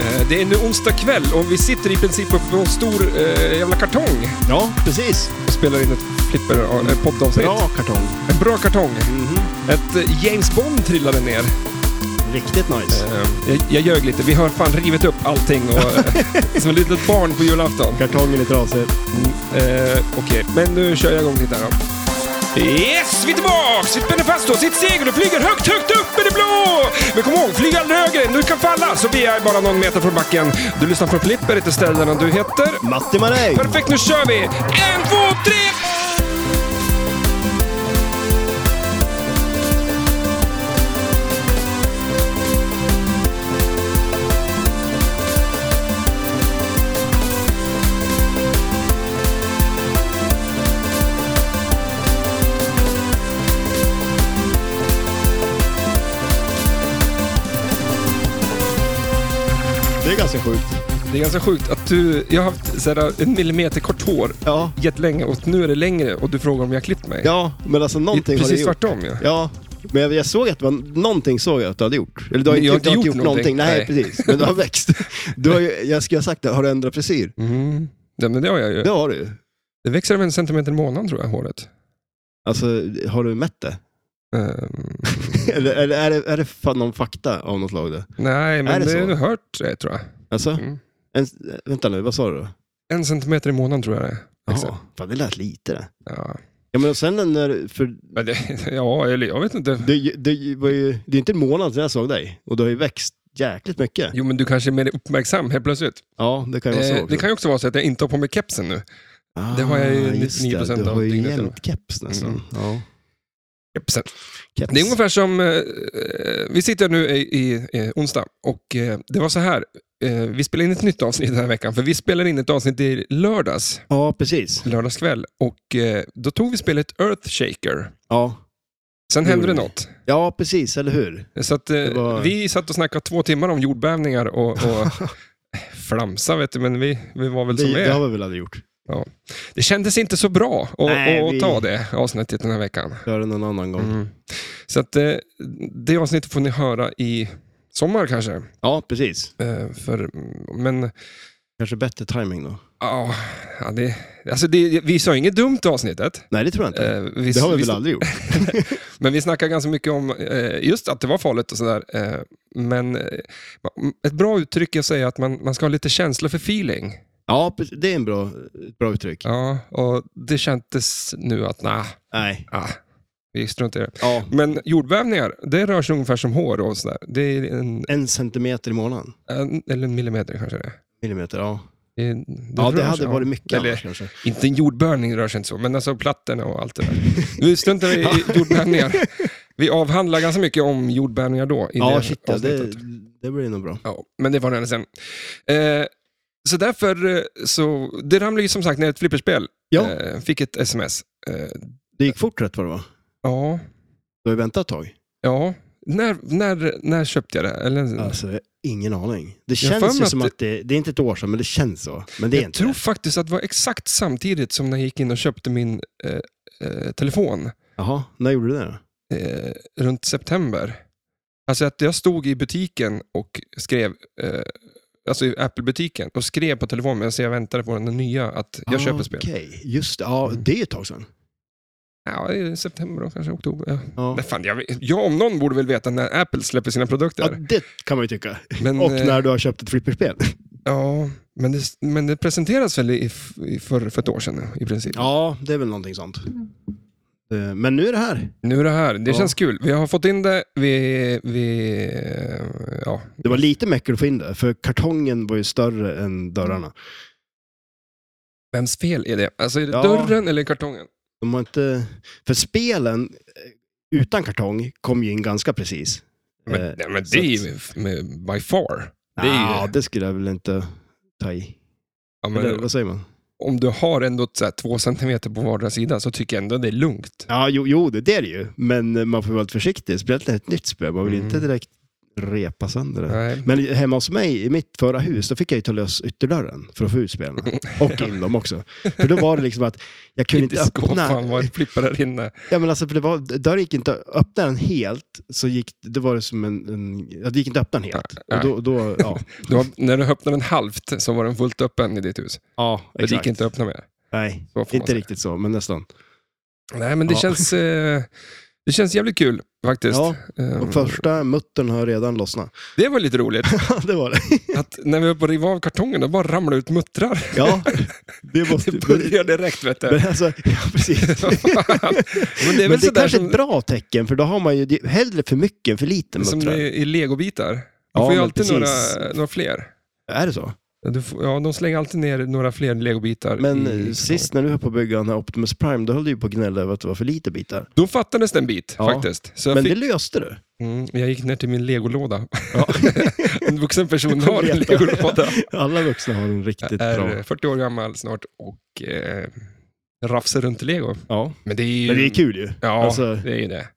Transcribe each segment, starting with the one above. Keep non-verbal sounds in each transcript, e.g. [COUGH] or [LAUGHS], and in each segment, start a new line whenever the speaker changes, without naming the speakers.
Eh, Det är nu onsdag kväll och vi sitter i princip uppe på en stor eh, jävla kartong
Ja, precis.
och spelar in ett flipper, ett poddavsnitt.
Bra kartong.
En bra kartong. Ett eh, James Bond trillade ner.
Riktigt nice.
Eh, Jag, jag ljög lite. Vi har fan rivit upp allting och, eh, [LAUGHS] som ett litet barn på julafton.
Kartongen är trasig.
Eh, Okej, men nu kör jag igång lite här då. Yes, vi är tillbaks! Sitt spänner fast då, sitt segel och flyger högt, högt upp i det blå! Men kom ihåg, flyg aldrig högre, nu kan falla! Så vi är bara någon meter från backen. Du lyssnar på Flipper, heter ställen du heter.
Matti Maräng!
Perfekt, nu kör vi! En, två, tre!
Det är ganska sjukt.
Det är ganska sjukt att du... Jag har haft så här, en millimeter kort hår
Ja.
jättelänge och nu är det längre och du frågar om jag har klippt mig.
Ja, men alltså
Det är
någonting
Precis
har du gjort.
tvärtom ju. Ja.
Ja. Men jag, jag såg att det var, någonting såg jag att du hade gjort. Eller du har
Men
inte,
jag har
du har inte gjort någonting. Nej,
någonting.
precis. Men du
[LAUGHS]
har växt. Du har ju, jag skulle ha sagt det, har du ändrat frisyr?
Mm. Ja, men det har jag ju.
Det har du ju.
Det växer över en centimeter i månaden tror jag, håret.
Alltså, har du mätt det? [LAUGHS]
Ehm,
Eller, eller är det, är det fan någon fakta av något slag? Då?
nej, men
Är det
det
så?
har du hört det, tror jag.
Alltså,
Mm.
en, vänta nu, vad sa du då?
En centimeter i månaden tror jag det är.
Jaha,
Exakt.
fan det lät lite det.
Ja.
Ja men och sen när, för
Men det, [LAUGHS] ja, eller jag vet inte.
det, det var ju, det är inte en månad sedan jag såg dig och du har ju växt jäkligt mycket.
Jo, men du kanske är mer uppmärksam helt plötsligt.
Ja, det kan ju vara så
Eh,
också.
det kan ju också vara så att jag inte har på mig kepsen nu.
ah,
det har jag ju
just det,
99%
Du
av
har ju
dygnet
jämt keps nästan.
Mm.
Ja,
Kepsen.
keps.
Det är ungefär som, eh, eh, vi sitter nu i, i, i onsdag och eh, det var så här. Eh, vi spelar in ett nytt avsnitt den här veckan, för vi spelar in ett avsnitt i lördags,
Ja, precis.
lördagskväll. Och eh, då tog vi spelet Earthshaker.
Ja.
Sen
Det
hände det
gjorde vi.
något.
ja, precis, eller hur?
Så att, eh,
var-
Vi satt och snackade två timmar om jordbävningar och, och
[LAUGHS]
flamsa, vet du, men vi, vi var väl
Det,
som vi
det
är.
har vi väl aldrig gjort.
Det kändes inte så bra att
Nej,
att
vi-
ta det avsnittet den här veckan.
Gör det någon annan gång.
Mm. Så att, eh, det avsnittet får ni höra i sommar kanske.
Ja, precis.
Eh, För, mm, men
Kanske bättre timing då.
ja, ja, det, alltså det, vi sa inget dumt i avsnittet.
Nej, det tror jag inte.
Eh, vi-
det har vi
vi-
väl aldrig gjort.
Men vi snackade ganska mycket om eh, just att det var farligt och sådär. Eh, Men eh, ett bra uttryck är att säga att man, man ska ha lite känsla för feeling.
Ja, precis. det är en bra, ett bra uttryck.
Ja, och det kändes nu att nej,
Nej,
ah, vi struntar i det.
ja.
Men jordbävningar, det rör sig ungefär som hår och sådär. Det är en,
En centimeter i månaden.
en, eller en millimeter kanske det är.
Millimeter, ja.
Det är-
ja,
rör
det hade
sig, ja.
varit mycket
Eller-
annars kanske.
Inte en jordbävning rör sig inte så, men alltså plattorna och allt det där. Nu struntar
[LAUGHS]
vi i jordbävningar. Vi avhandlar ganska mycket om jordbävningar då. I
Ja,
det
shit, ja, det,
avsnittet. Eh,
det blir nog bra.
ja. Men det var det sen. Eh, så därför, eh, så, det ramlade ju som sagt ner ett flipperspel.
Ja,
Eh, fick ett sms. Eh,
det gick fort rätt vad det var.
ja,
Du har ju väntat ett tag.
ja. När, när, när köpte jag det? Eller,
Alltså, jag har ingen aning. Det
Jag har för
känns ju
mig
som
att
att det, det är inte ett år sedan, men det känns så. Men det är
jag
inte
tror
det.
faktiskt att det var exakt samtidigt som när jag gick in och köpte min eh, eh, telefon.
Jaha, när gjorde du det då?
eh, runt september. Alltså att jag stod i butiken och skrev, eh, alltså i Apple-butiken, och skrev på telefonen medan jag väntade på den nya att jag köper spel.
Ah,
Mm.
Okej, just det. Ja, det är ett tag sedan.
Ja, det är september och kanske oktober. Ja.
Ja.
Nej, fan, jag, vet- jag om någon borde väl veta när Apple släpper sina
Ja,
produkter.
det kan man ju tycka.
Men,
Och
eh,
när du har köpt
[LAUGHS]
ett flipperspel.
Ja, men det, men det presenteras väl i, i, för, för ett år sedan i princip.
Ja, det är väl någonting sånt. Eh, Men nu är det här.
Nu är det här, det
Ja.
känns kul. Vi har fått in det, vi... vi ja.
Det var lite mäcker att få in det, för kartongen var ju större än dörrarna.
Vems fel är det? Alltså är det
Ja.
dörren eller kartongen?
De har inte... För spelen eh, utan kartong kom ju in ganska precis.
Men,
Eh,
nej, men
så
det är
att-
ju med, by far. Det är ju-
Ja, Ah, det skulle jag väl inte ta i.
Ja,
Eller,
men,
vad säger man?
om du har ändå så här, två centimeter på vardera sida så tycker jag ändå det är lugnt.
Ja, jo, jo det, det är det ju. Men eh, man får vara lite försiktig. Speciellt när det är ett nytt spel. Man vill
Mm.
inte direkt repa sönder det.
Nej.
Eh, Men hemma hos mig, i mitt förra hus, då fick jag ju ta lös ytterdörren för att få
[LAUGHS]
ut spelarna. Och in dem också. För då var det liksom att jag kunde
Inte
inte
i
öppna...
skåpan var det flippar där inne.
Ja, men alltså, för det var, dörren gick inte att öppna den helt. Så gick, då var det som en... en ja, det gick inte att öppna den helt.
Nej.
Och då, då,
[LAUGHS]
ja.
Du har, när du öppnade den halvt så var den fullt öppen i ditt hus.
ja,
Det gick
exakt.
inte att öppna mer.
Nej,
Så får man
inte
säga.
riktigt så, men nästan.
Nej, men det,
Ja.
känns, eh, det känns jävligt kul faktiskt.
Ja,
Ehm,
och första muttern har redan lossnat. [LAUGHS]
Det var lite roligt.
det var det.
Att när vi var på att riva av kartongen, då bara ramlade ut muttrar.
Ja, det måste...
Det började direkt, vet [LAUGHS] du.
Men alltså, ja, precis.
men det är väl
Men det är
sådär
kanske ett
som,
bra tecken, för då har man ju det- hellre för mycket än för lite
som
muttrar.
det är i legobitar. Du
Ja,
får ju
men
alltid några,
precis.
några fler.
Är det så?
Du får, ja, de slänger alltid ner några fler legobitar.
Men
i-
eh, sist när du höll på att bygga den här Optimus Prime, då höll du ju på att gnälla över att det var för lite bitar.
Då fattades det en bit
Ja.
faktiskt. Så jag,
Men
fick,
det
[LAUGHS]
löste du.
mm, jag gick ner till min
[LAUGHS]
legolåda.
Ja.
en vuxen person har en
Leta. [LAUGHS]
legolåda.
Alla vuxna har en riktigt
Jag är
bra...
40 år gammal snart och eh, rafsar runt i lego.
Ja.
Men det är ju...
Men det är kul ju.
Ja,
Alltså-
det är ju det.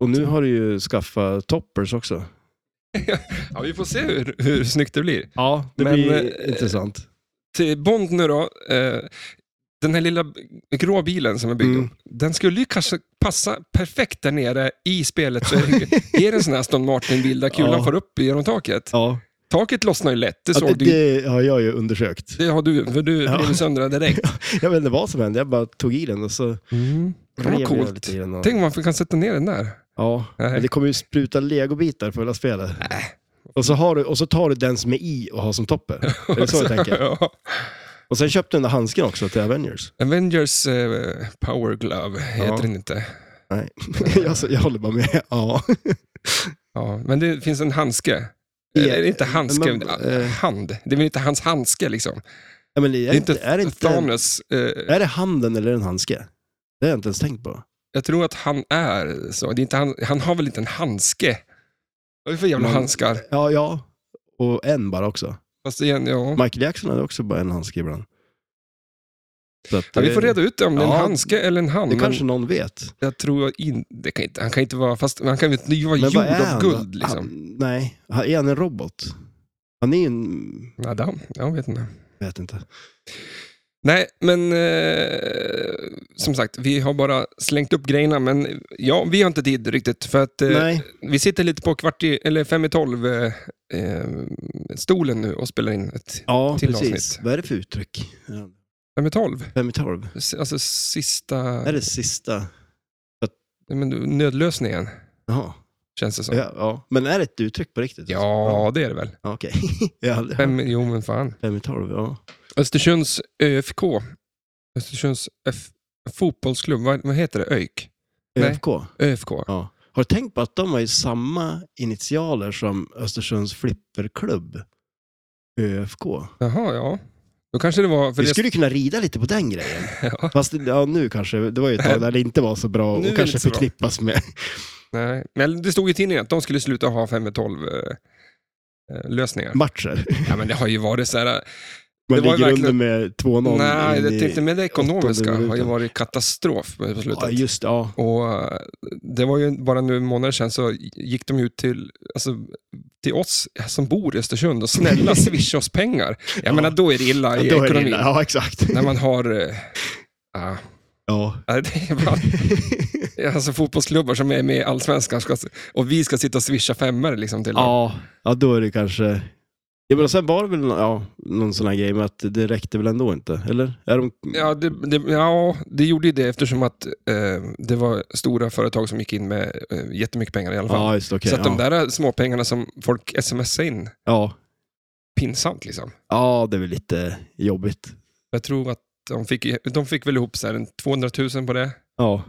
Och nu har du ju skaffat toppers också.
Ja, vi får se hur, hur snyggt det blir.
Ja, det
Men,
blir
eh,
intressant.
Till Bond nu då. Eh, den här lilla grå bilen som är byggd
Mm.
upp, den skulle ju kanske passa perfekt där nere i spelet. Så är,
[LAUGHS]
det, är det en sån här Aston Martin-bil där kulan
Ja.
far upp genom taket?
Ja.
Taket lossnar ju lätt, det
Ja,
såg du
det,
ju.
det har jag ju undersökt.
Det har du, för du
Ja.
rev sönder den
[LAUGHS]
direkt.
Jag vet inte vad som hände, jag bara tog i den och så
Mm. Det var
rev jag
coolt.
lite i den. Och...
Tänk om man kan sätta ner den där.
Ja,
Nej.
men det kommer ju spruta legobitar på hela spelet. Och så, har du, och så tar du den som är i och har
[LAUGHS]
som toppen. Är det så jag tänker?
Ja.
Och sen köpte du den där handsken också till Avengers.
Avengers eh, Power Glove heter
Ja.
den inte.
Nej, [LAUGHS] jag, så, jag håller bara med. Ja.
Ja, men det finns en handske.
Ja,
Eller inte handske,
men,
men,
eh,
hand. Det är väl inte hans handske liksom.
Ja, men det
Det
är,
är
inte,
inte,
är, det inte,
Thanos. Eh,
är det handen eller en handske? Det har jag inte ens tänkt på.
jag tror att han är så. Det är inte han, han har väl inte en handske? Vad är det för jävla
Man-
handskar?
Ja, ja. Och en bara också.
Fast igen, ja.
Michael Jackson hade också bara en handske ibland. Så att,
ja. Vi får
eh,
reda ut det, om det är en
Ja,
handske eller en hand.
Det
Men
kanske någon vet.
jag tror in, det kan inte, han kan inte vara, fast han kan ju inte vara
Men
gjord
vad är han
av
då?
guld liksom.
Han, nej, han- är han en robot? Han är ju en...
Adam, jag vet inte.
Jag vet inte.
Nej, men eh, som sagt, vi har bara slängt upp grejerna, men ja, vi har inte tid riktigt. För att eh,
Nej.
vi sitter lite på kvart i, eller fem i tolv eh, eh, stolen nu och spelar in ett
Ja,
till
precis.
avsnitt.
Vad är det för uttryck? Ja,
fem i tolv.
Fem i tolv?
S- Alltså sista
Är det sista?
nej, men, nödlösningen,
Jaha.
känns det som. Ja,
Ja, ja. Men är det ett uttryck på riktigt?
det är det väl.
ja Okej. [LAUGHS] Jag har aldrig hört.
Fem, jo, men fan.
Fem i tolv, ja.
Östersunds ÖFK. Östersunds F- fotbollsklubb, vad, vad heter det? ÖIK? Nej.
ÖFK?
ÖFK.
Ja. Har du tänkt på att de har ju samma initialer som Östersunds flipperklubb? ÖFK.
Jaha, ja. Då kanske det var... För
Vi
det,
skulle kunna rida lite på den grejen.
[LAUGHS] ja.
Fast ja, nu kanske, det var ju ett
[LAUGHS]
tag där det inte var så
Nu
bra
är
och
det
kanske
inte så bra. [LAUGHS]
förknippas med.
Nej, men det stod i tidningen att de skulle sluta ha 5 med 12 eh, eh, lösningar.
matcher.
Ja, men det har ju varit så här...
Man
Det var ju
ligger
verkligen-
under med 2-0.
nej,
in
jag
i-
tänkte med det ekonomiska
åttonde
har ju
minuten.
varit katastrof på slutet.
Ja, just det. Ja.
Och eh, det var ju bara nu en månad sedan så gick de ut till, alltså, till oss som bor i Östersund och
[LAUGHS]
snälla swisha oss pengar. Jag
Ja.
menar, då är det illa
Ja,
i
då är det
ekonomin.
illa. Ja, exakt.
När man har... eh, ah,
Ja.
nej, det är bara, alltså fotbollsklubbar som är med i Allsvenskan ska, och vi ska sitta och swisha femmor liksom till dem.
ja, ja, då är det kanske... Ja, men sen var det väl ja, någon sån här grej med att det räckte väl ändå inte? Eller? Är de...
Ja det, det, ja, det gjorde ju det eftersom att eh, det var stora företag som gick in med eh, jättemycket pengar i alla fall.
ja just det. okej.
så att
ja.
de där småpengarna som folk smsar in,
ja.
pinsamt liksom.
ja, det är väl lite jobbigt.
Jag tror att de fick, de fick väl ihop så här en 200 000 på det.
Ja,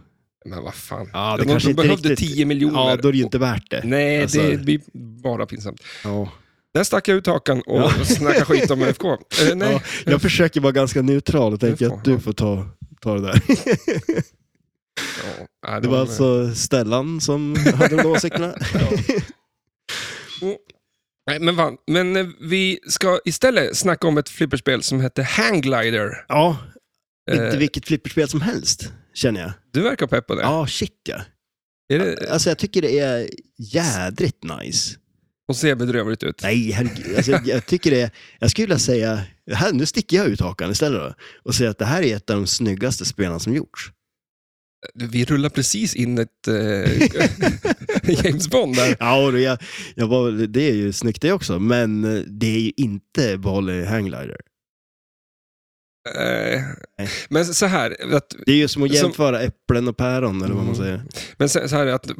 Men vad fan.
ja
de de behövde 10 miljoner.
Ja, då är det ju inte värt det.
Nej,
Alltså-
det blir bara pinsamt.
Ja.
Där stack jag ut hakan och [LAUGHS]
Ja.
snackade skit om ÖFK. Eh, nej.
Ja, jag försöker vara ganska neutral och tänker
får-
att du
ja.
får ta, ta det där.
Ja, nej,
Det var alltså Stellan som hade de åsikterna.
nej, men, fan. men eh, vi ska istället snacka om ett flipperspel som hette Hangglider.
Ja, inte
Eh,
vilket flipperspel som helst, känner jag.
Du verkar pepp på det.
Ja, shit ja.
Är det
Alltså jag tycker det är jädrigt nice.
Och ser bedrövligt ut.
Nej, herregud. Alltså, jag- jag tycker det. Jag skulle vilja säga, här, nu sticker jag ut hakan istället då, och säger att det här är ett av de snyggaste spelen som gjorts.
Vi rullar precis in ett
[LAUGHS]
eh, [LAUGHS] James Bond där.
Ja, och jag, jag var, det är ju snyggt det också, men eh, det är ju inte Bali Hanglider.
Eh,
Nej.
men så här, att,
Det är ju som att
Som-
jämföra äpplen och päron, eller vad
Mm.
man säger.
men så så här att m-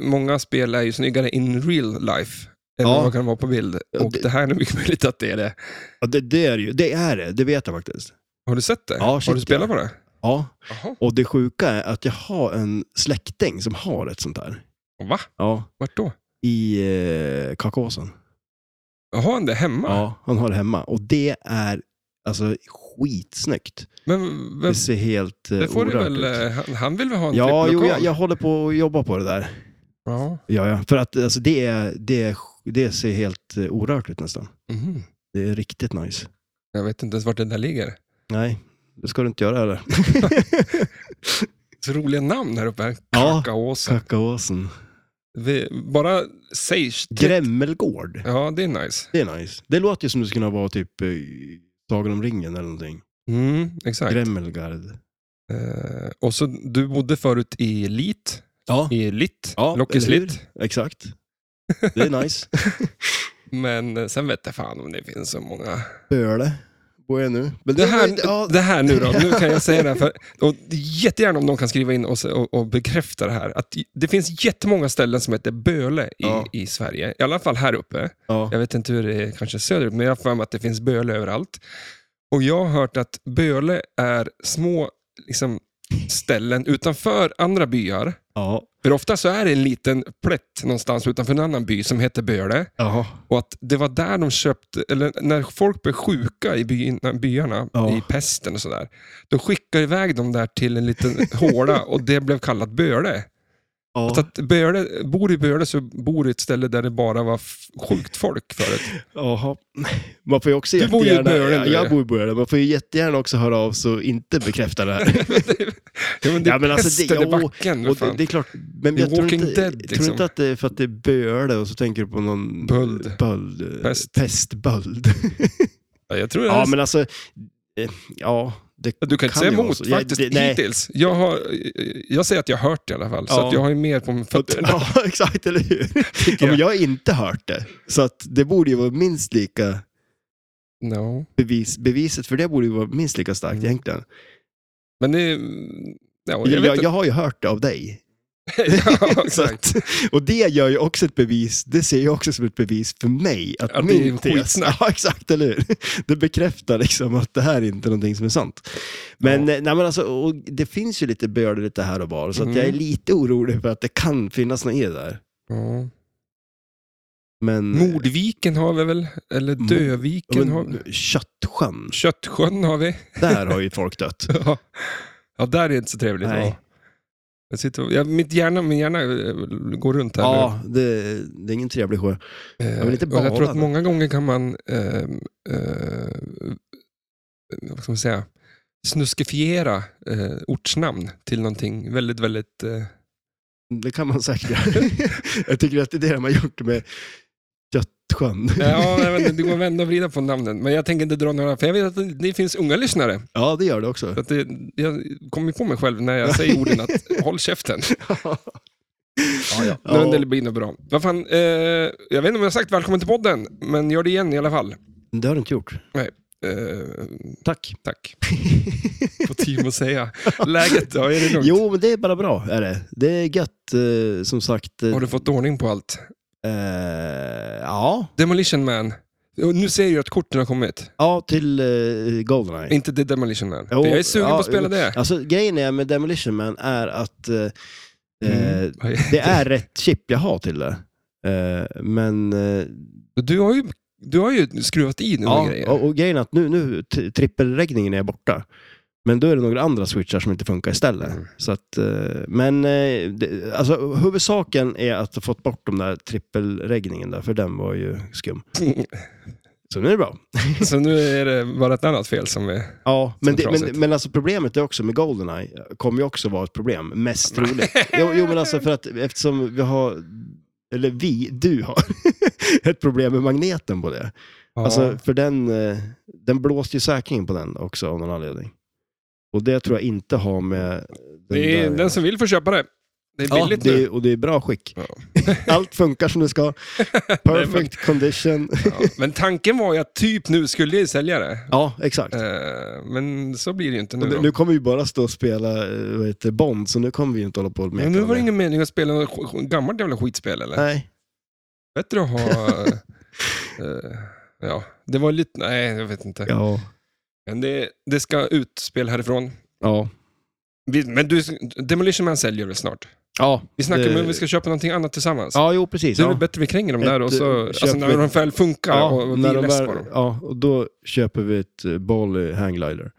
många spel är ju snyggare in real life än
Ja.
vad man kan vara på bild.
Ja,
Och
det-
det här är mycket möjligt att det är det.
Ja, det, det är det ju. Det är det, det vet jag faktiskt.
Har du sett det?
Ja,
Har
shit,
du spelat på det?
Ja,
Jaha.
och det sjuka är att jag har en släkting som har ett sånt här.
Va?
Ja,
Vart då?
i eh, Kakåsen.
Har han det hemma?
Ja, han har det hemma. Och det är alltså skitsnyggt.
Men vem,
Det ser helt eh,
det får du
orört
väl,
ut.
eh, han, han vill väl ha en
Ja, jo,
trippellokal?
jag, jag håller på att jobba på det där.
Ja.
Ja, ja. För att alltså, det, är, det, är, det ser helt eh, orört ut nästan.
Mhm.
Det är riktigt nice.
Jag vet inte ens vart den där ligger.
Nej, det ska du inte
[LAUGHS]
göra heller.
Så roliga namn här uppe.
Ja.
Kakaåsen.
Kakaåsen.
Vi, bara säg...
Grämmelgård.
Ja, det är nice.
Det är nice. Det låter ju som det skulle kunna vara typ eh, Sagan om ringen eller någonting.
Mm, exakt.
Gremmelgard.
Eh, och så, du bodde förut i Lit,
Ja,
i Litt,
Ja,
Lockis
eller hur?
Litt.
exakt. Det
[LAUGHS]
är nice.
Men eh, sen vet jag fan om det finns så många.
Böle bor jag nu. Men
Det här,
ja,
det här nu då, nu kan jag säga det här. För, och jättegärna om någon kan skriva in och, se- och, och bekräfta det här. Att det finns jättemånga ställen som heter Böle i,
Ja.
i Sverige. I alla fall här uppe.
ja.
Jag vet inte hur det är kanske söderut, men jag har för mig att det finns böle överallt. Och jag har hört att böle är små liksom, ställen utanför andra byar.
Ja,
För ofta så är det en liten plätt någonstans utanför en annan by som heter Böle.
jaha.
Och att det var där de köpte, eller när folk blev sjuka i byna, byarna,
Ja.
i pesten och sådär. Då skickade iväg dem där till en liten [LAUGHS] håla och det blev kallat Böle. Så
Ja,
att Böle, bor du i Böle så bor du i ett ställe där det bara var f- sjukt folk förut.
[LAUGHS] jaha. Man får ju också
Du bor ju i
jättegärna...
Böle,
ja,
du.
jag bor i Böle. Man får ju jättegärna också höra av sig och inte
[LAUGHS]
bekräfta det här.
Ja, men det är
Ja, men alltså, det-
pesten
ja,
i backen.
Och
vad
det,
fan.
det är klart, men
Det är
jag tror
Walking
inte,
Dead,
tror
liksom.
inte att det är för att det är böle och så tänker du på någon...
Böld.
Böld.
Pest. [LAUGHS]
Pestböld.
Ja, jag tror det
ja,
är-
men alltså... eh, Ja, det
Du kan inte
kan
säga
ju vara
emot
så. Jag-
faktiskt,
det- nej.
hittills. Jag, har, jag säger att jag har hört det i alla fall, så
Ja.
att jag har ju mer på fötterna.
[LAUGHS] Ja, exakt,
[LAUGHS]
eller hur? Ja, men jag har inte hört det. Så att det borde ju vara minst lika...
No.
Bevis, beviset för det borde ju vara minst lika starkt
Mm.
egentligen.
Men det är... Ja, jag
Jag,
vet
jag,
inte.
har ju hört det av dig.
[LAUGHS]
[LAUGHS]
ja,
Så
exakt.
att, [LAUGHS] och det gör ju också ett bevis, det ser jag också som ett bevis för mig. Att
Att det är
min tes,
skitsnack.
[LAUGHS] ja, exakt, eller hur? Det bekräftar liksom att det här är inte någonting som är sant. Men, eh, nej, men alltså, och det finns ju lite börde lite här och var, så att
Mm.
jag är lite orolig för att det kan finnas något i det där.
Ja.
Men,
Mordviken har vi väl? Eller
Mord-
Döviken har vi?
Mm. men, Köttsjön,
Köttsjön har
[LAUGHS]
vi.
där har ju
[LAUGHS]
folk dött.
Ja. ja, där är det inte så trevligt.
Nej.
Ja. Jag sitter och, jag, mitt hjärna, min hjärna eh, går runt här nu.
Ja, det, det är ingen trevlig sjö.
Jag,
vill inte bada
Eh, jag tror att
där.
många gånger kan man, ehm, eh, vad ska man säga, snuskifiera eh, ortsnamn till någonting väldigt, väldigt...
[LAUGHS]
Eh,
Det kan man säkert göra.
[LAUGHS]
Jag tycker att det är det de har gjort med Köttsjön.
ja, jag vet inte, det går att vända och vrida på namnen, men jag tänker inte dra några, för jag vet att det, det finns unga lyssnare.
Ja, det gör det
Så
också.
att det, jag kommer ju på mig själv när
[LAUGHS]
jag säger orden att håll käften.
Ja, ja.
Ja. Men det blir nog bra. Vad fan, eh, jag vet inte om jag har sagt välkommen till podden, men gör det igen i alla fall.
Det har du inte gjort.
Eh,
Tack.
tack. På team att
[LAUGHS]
säga. Läget då? Är det lugnt?
Jo, men det är bara bra. Är det. det är gött, eh, som sagt. Eh,
Har du fått ordning på allt?
eh, ja.
Demolition Man. Och Nu ser jag ju att korten har kommit.
ja, till eh, Goldeneye.
Inte The Demolition Man.
Jo,
jag är sugen
ja,
på att spela det.
Alltså, grejen är med Demolition Man är att eh, eh,
Mm.
det är rätt chip jag har till det. Eh, men eh,
Du, har ju, du har ju skruvat i några
Ja,
grejer.
och, och grejen är att nu, nu t- trippelräggningen är borta. Men då är det några andra switchar som inte funkar istället.
Mm.
Så att, eh, men eh, det, alltså, huvudsaken är att ha fått bort de där trippelräggningen där, för den var ju skum. Så nu är det bra.
[LAUGHS] Så nu är det bara ett annat fel som är...
Ja, men, det,
trasigt.
men, men alltså problemet är också med Goldeneye, kommer ju också vara ett problem, mest troligt. jo, jo, men alltså för att eftersom vi har, [LAUGHS] eller vi, du har, ett problem med magneten på det.
Ja.
Alltså, för den, eh, den blåste ju säkringen på den också av någon anledning. Och det tror jag inte har med... Den
det är
där-
den som vill får köpa det. Det är
ja,
billigt
det,
nu.
är- och det är bra skick.
Ja.
[LAUGHS] Allt funkar som
[LAUGHS]
det ska. Perfect condition.
Ja. Men tanken var ju att typ nu skulle jag sälja det.
Ja, [LAUGHS] exakt.
Eh, Men så blir det ju inte nu.
Och
då.
nu, nu kommer vi bara stå och spela eh, vad heter, Bond, så nu kommer vi ju inte hålla på och meka
Men nu
med
var det ingen mening att spela något sk- sk- gammalt jävla skitspel eller?
Nej.
Bättre att ha...
[LAUGHS]
eh, ja, det var lite... Nej, jag vet inte.
Ja.
Men det, det ska ut spel härifrån.
Ja.
Vi, men du, Demolition Man säljer väl snart?
ja.
Vi snackar om
Det-
om vi ska köpa någonting annat tillsammans.
Ja, jo precis.
Så är det
Ja.
bättre vi kränger dem
Ett,
där och så,
eh,
alltså
köp
när
ett-
de väl funkar
Ja,
och, och vi
när
är
de
less
väl-
på dem.
ja, och då köper vi ett eh, Bali Hanglider.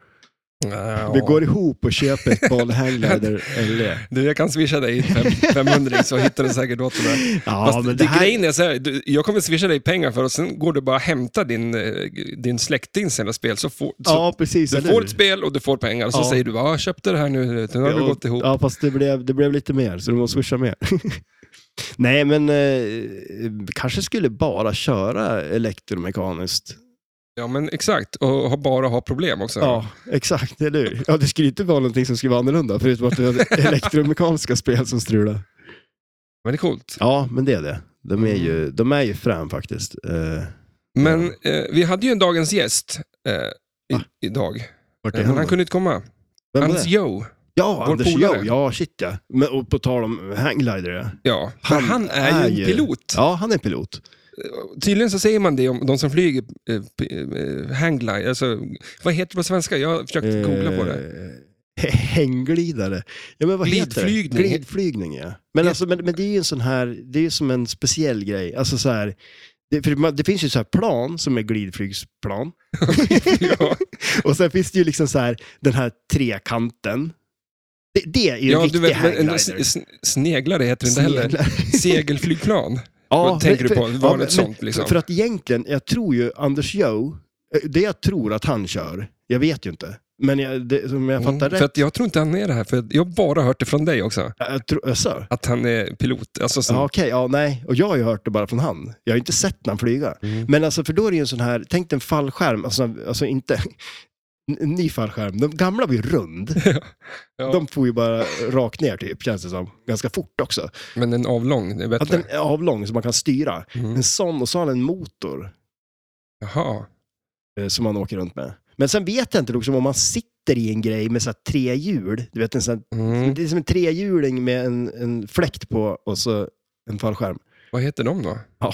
Ja.
Vi går ihop och köper ett Bali Hanglider LE.
Du, jag kan swisha dig fem- 500 så hittar du säkert åt det där.
Ja,
Fast det grejen är så här, du, jag kommer swisha dig pengar för och sen går du bara hämta din, eh, din släkting sina spel. Så får, så
Ja, precis.
du
eller
får
hur?
ett spel och du får pengar och så
Ja.
säger du bara, "Ah, jag köpte det här nu, nu har vi
Ja,
gått ihop.
Ja, fast det blev, det blev lite mer, så du måste swisha mer. [LAUGHS] Nej, men eh, kanske skulle bara köra elektromekaniskt.
Ja, men exakt. Och har bara ha problem också.
Ja, exakt. Eller hur? Ja, det skulle inte vara någonting som skulle vara annorlunda, förutom att det är [LAUGHS] elektromekaniska spel som strular.
Men det är coolt.
Ja, men det är det. De är ju,
Mm.
de är ju fram faktiskt. Eh,
Men eh, vi hade ju en dagens gäst eh, i,
Ah.
idag.
vart är
Men
han?
han
då?
kunde inte komma.
Vem var
Hans
det?
Joe.
Ja,
vår
Anders
polare.
Joe. Ja, shit ja. Men, och på tal om hangglider, ja.
Ja, han, han
Han
är
är
ju
ju-
en pilot. Eh,
Ja, han är pilot.
Tydligen så säger man det om de som flyger eh, p- eh, hangglide. Alltså, vad heter det på svenska? Jag har försökt googla på det.
Eh, Hängglidare. Ja, men vad heter
Glidflygning.
det? Glidflygning. Ja. Men,
Det-
alltså, men, men det är ju en sån här, det är ju som en speciell grej. Alltså så här, det, för man, det finns ju så här plan som är glidflygsplan. Eh,
[LAUGHS] ja,
Och sen finns det ju liksom så här, den här trekanten. Det, det är ju en
ja,
riktig
du vet, men, en
hangglider.
s- s- sneglare heter det inte
[LAUGHS]
heller.
Sneglar.
Segelflygplan.
[LAUGHS]
Vad
men-
tänker du på?
för-
Var det
men-
ett sånt,
men-
liksom?
För att egentligen, jag tror ju Anders Joe, eh, det jag tror att han kör, jag vet ju inte. Men jag, det, om jag fattar
Mm,
rätt,
för att jag tror inte han är det här, för jag har bara hört det från dig också.
jag, jag tror, asså?
Att han är pilot. Alltså, som,
Ja, okej. Ja, nej. Och jag har ju hört det bara från han. Jag har ju inte sett när han flyga.
Mm.
Men alltså, för då är det ju en sån här, tänk dig en fallskärm, alltså, alltså inte [LAUGHS] en ny fallskärm. De gamla var ju rund.
[LAUGHS] Ja,
De får ju bara rakt ner typ, känns det som. Ganska fort också.
Men en avlång är
Att
bättre.
den är avlång så man kan styra.
Mm.
En sån, och så har den en motor
Jaha.
eh, som man åker runt med. Men sen vet jag inte liksom, om man sitter i en grej med så här tre hjul. Du vet, en sån här,
Mm.
Det är som en trehjuling med en, en fläkt på och så en fallskärm.
Vad heter de då?
Ja.